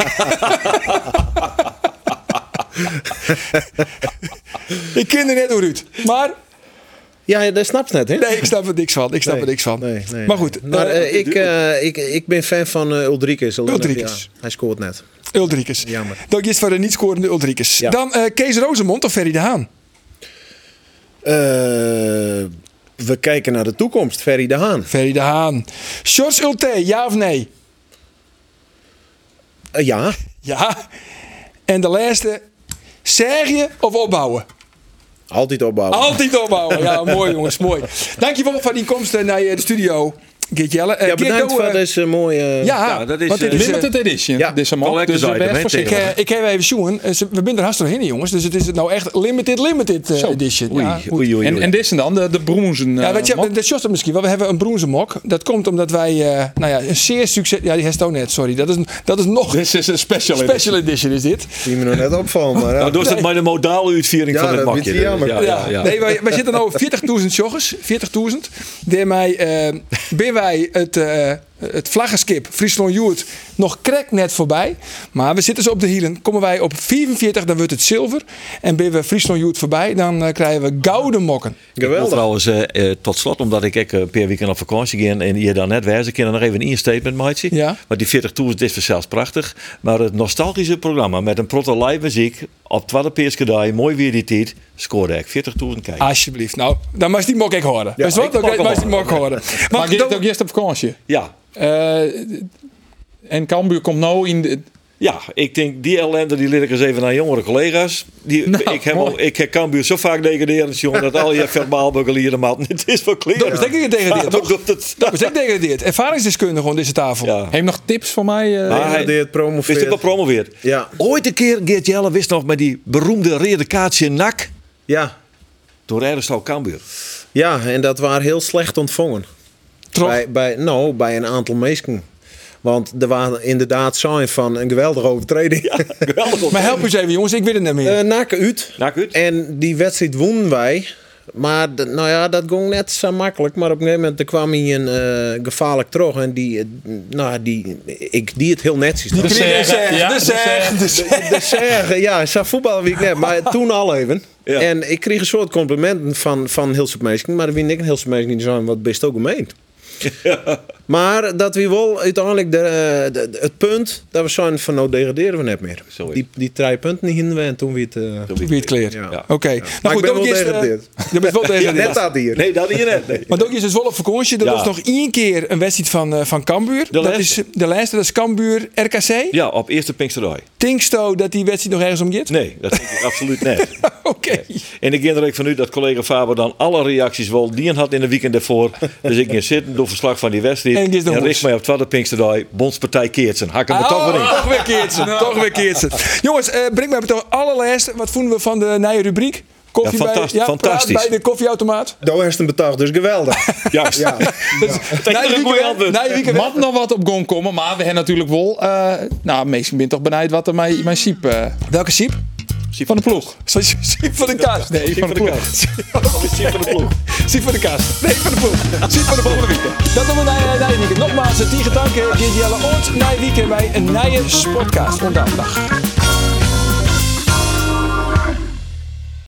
ik ken er net hoe uit. Maar Ja, ja, dat snapt net, hè? nee, ik snap er niks van. Ik snap er niks van. Nee, nee, maar goed, nee. Maar, eh, eh, ik, eh, ik, ik ben fan van eh Ulrikes. alleen dat- Ulrikes. ja, hij scoort net. Ulrikes. jammer. Dank je voor de niet-scorende Ulrikes. Ja. Dan eh, Kees Rozemond of Ferry de Haan? Eh, we kijken naar de toekomst. Ferry de Haan. Ferry de Haan. Sjors Ulte, ja of nee? Eh, ja, Ja. En de laatste, zeg je of opbouwen? altijd opbouwen. Altijd opbouwen. Ja, mooi jongens, mooi. Dankjewel voor die komst eh, naar eh, de studio, Geert Jelle. Eh, ja, Geert, bedankt doe, eh, voor deze mooie... eh, Ja, Ja, dat is, want dit eh, is, eh, limited edition. ja, Dit is hem ook. collector's Dus eh, item, wees hè, voorzichtig. ik, eh, ik heb even zoen. Eh, ze- We zijn er hartstikke heen, jongens. Dus het is het nou echt limited, limited eh, edition. Oei, ja, goed. oei, oei. En, oei. en dit zijn dan de, eh, de broenzen. Ja, weet je, dat shot misschien wel. We hebben een broenzemok. Dat komt omdat wij, eh, nou ja, een zeer succes... Ja, die heeft het ook net, sorry. Dat is, dat is nog... This is een special edition. Special edition is dit. Die me nog net opvallen. Maar, eh, ja. nou, door is het maar de modale uitviering Ja, van het dat makje. dus. is jammer. Ja, ja, ja. Nee, wij, wij zitten nou op 40.000 joggers. 40.000. Daarmee eh ben wij het, eh het vlaggenskip Friesland Joert nog krek net voorbij. Maar we zitten ze op de hielen. Komen wij op 44, dan wordt het zilver. En ben we Friesland Joert voorbij, dan eh, krijgen we gouden mokken. Ik wil Geweldig. trouwens, eh, eh, tot slot, omdat ik ook eh, per weekend op vakantie ging en je dan net wijzen, ik kan er nog even een statement maatje. Ja. Want die 40 tours dit is zelfs prachtig. Maar het nostalgische programma met een proto live muziek op 12 Peerskadaai, mooi weer die tijd, scoorde ik 40 toeren kijken. Alsjeblieft. Nou, dan mag die mok ik horen. Ja, wat? ik Dan mag hem mag die horen. mok horen. Maar Maar dit dan- ook eerst op vakantie. Ja, Eh, en Cambuur komt nou in de, Ja, ik denk die ellende die leer ik eens even aan jongere collega's. Die, Nou, ik, heb mooi. al, ik heb Cambuur zo vaak degraderen, jongen, dat al je verbaal begeleerde maat. Het is wel clear. Dat is denk ik gedegradeerd, toch? Ja, dat- We zijn gedegradeerd. Ervaringsdeskundige aan deze tafel. ja. Heeft nog tips voor mij? eh Maar hij deed het promoveert. Ah, Is dit wel promoveerd? Ja. Ooit een keer, Geert Jelle wist nog met die beroemde rode kaartje in NAC. ja. Toen rijden ze al Cambuur. ja, en dat waren heel slecht ontvangen. Toch? Bij, bij, nou, bij een aantal mensen. Want er waren inderdaad zijn van een geweldige overtreding. Geweldig. Maar help eens even, jongens. Ik weet het niet meer. Eh NAC uit. NAC uit. En die wedstrijd wonnen wij. Maar d- nou ja, dat ging net zo makkelijk. Maar op een gegeven moment er kwam hij een eh, gevaarlijk terug. En die, eh, nou, die, ik, die het heel netjes. de deed. serre, ja, de de serre. De zeggen, ja, zo voetballen wie ik net. Maar toen al even. Ja. En ik kreeg een soort complimenten van, van heel veel mensen. Maar er wie ik een heel veel mensen die zijn wat best ook gemeend. Maar dat we wel uiteindelijk de, eh, de- de- het punt dat we zijn van nou degraderen we net meer. Zo is Die, die drie punten die hinden we en toen weer het... eh, Wie het kleert. Ja. Oké. Maar ik ben wel is, eh, degradeerd. Je bent wel degradeerd. net dat hier. Nee, dat hier net. Nee. Maar ook is het wel op vakantie. Dat Ja. was nog één keer een wedstrijd van, eh, van Cambuur. dat is laatste. eh, de laatste. Dat is Cambuur RKC. Ja, op eerste Pinksterdooi. Tinksto dat die wedstrijd nog ergens om gaat? Nee, dat denk ik absoluut net. Oké. En ik ging er ook vanuit dat collega Faber dan alle reacties wel dien had in de weekend daarvoor. Dus ik ging zitten, door verslag van die wedstrijd. En het is nog richt woens. mij op Twadde Pinksterdag, Bondspartij Keertsen. Hakken we Ah, toch weer in. toch weer keertsen. Toch weer keertsen. Jongens, eh breng mij toch allerlaatste. Wat vonden we van de nieuwe rubriek? Koffie Ja, bij, fantast- ja, praat fantastisch. bij de koffieautomaat. Daar heeft hem betaald, dus geweldig. Juist. Ja. Nou, Nee, weekend, nee, weekend. Mag nog wat op gang komen, maar we hebben natuurlijk wel. eh nou, meestal ben toch benijd wat er mijn, mijn siep. eh, Welke siep? Nou, van de ploeg. Zoals Siep van de kast. Nee, van de ploeg. Siep van de ploeg. Siep van de kast. Nee, van de ploeg. Siep van de volgende weekend. Dat doen we naar naar je weekend. Nogmaals, tien gedanken. Dit jelle ons naar je weekend bij een nieuwe sportcast. Vandaag.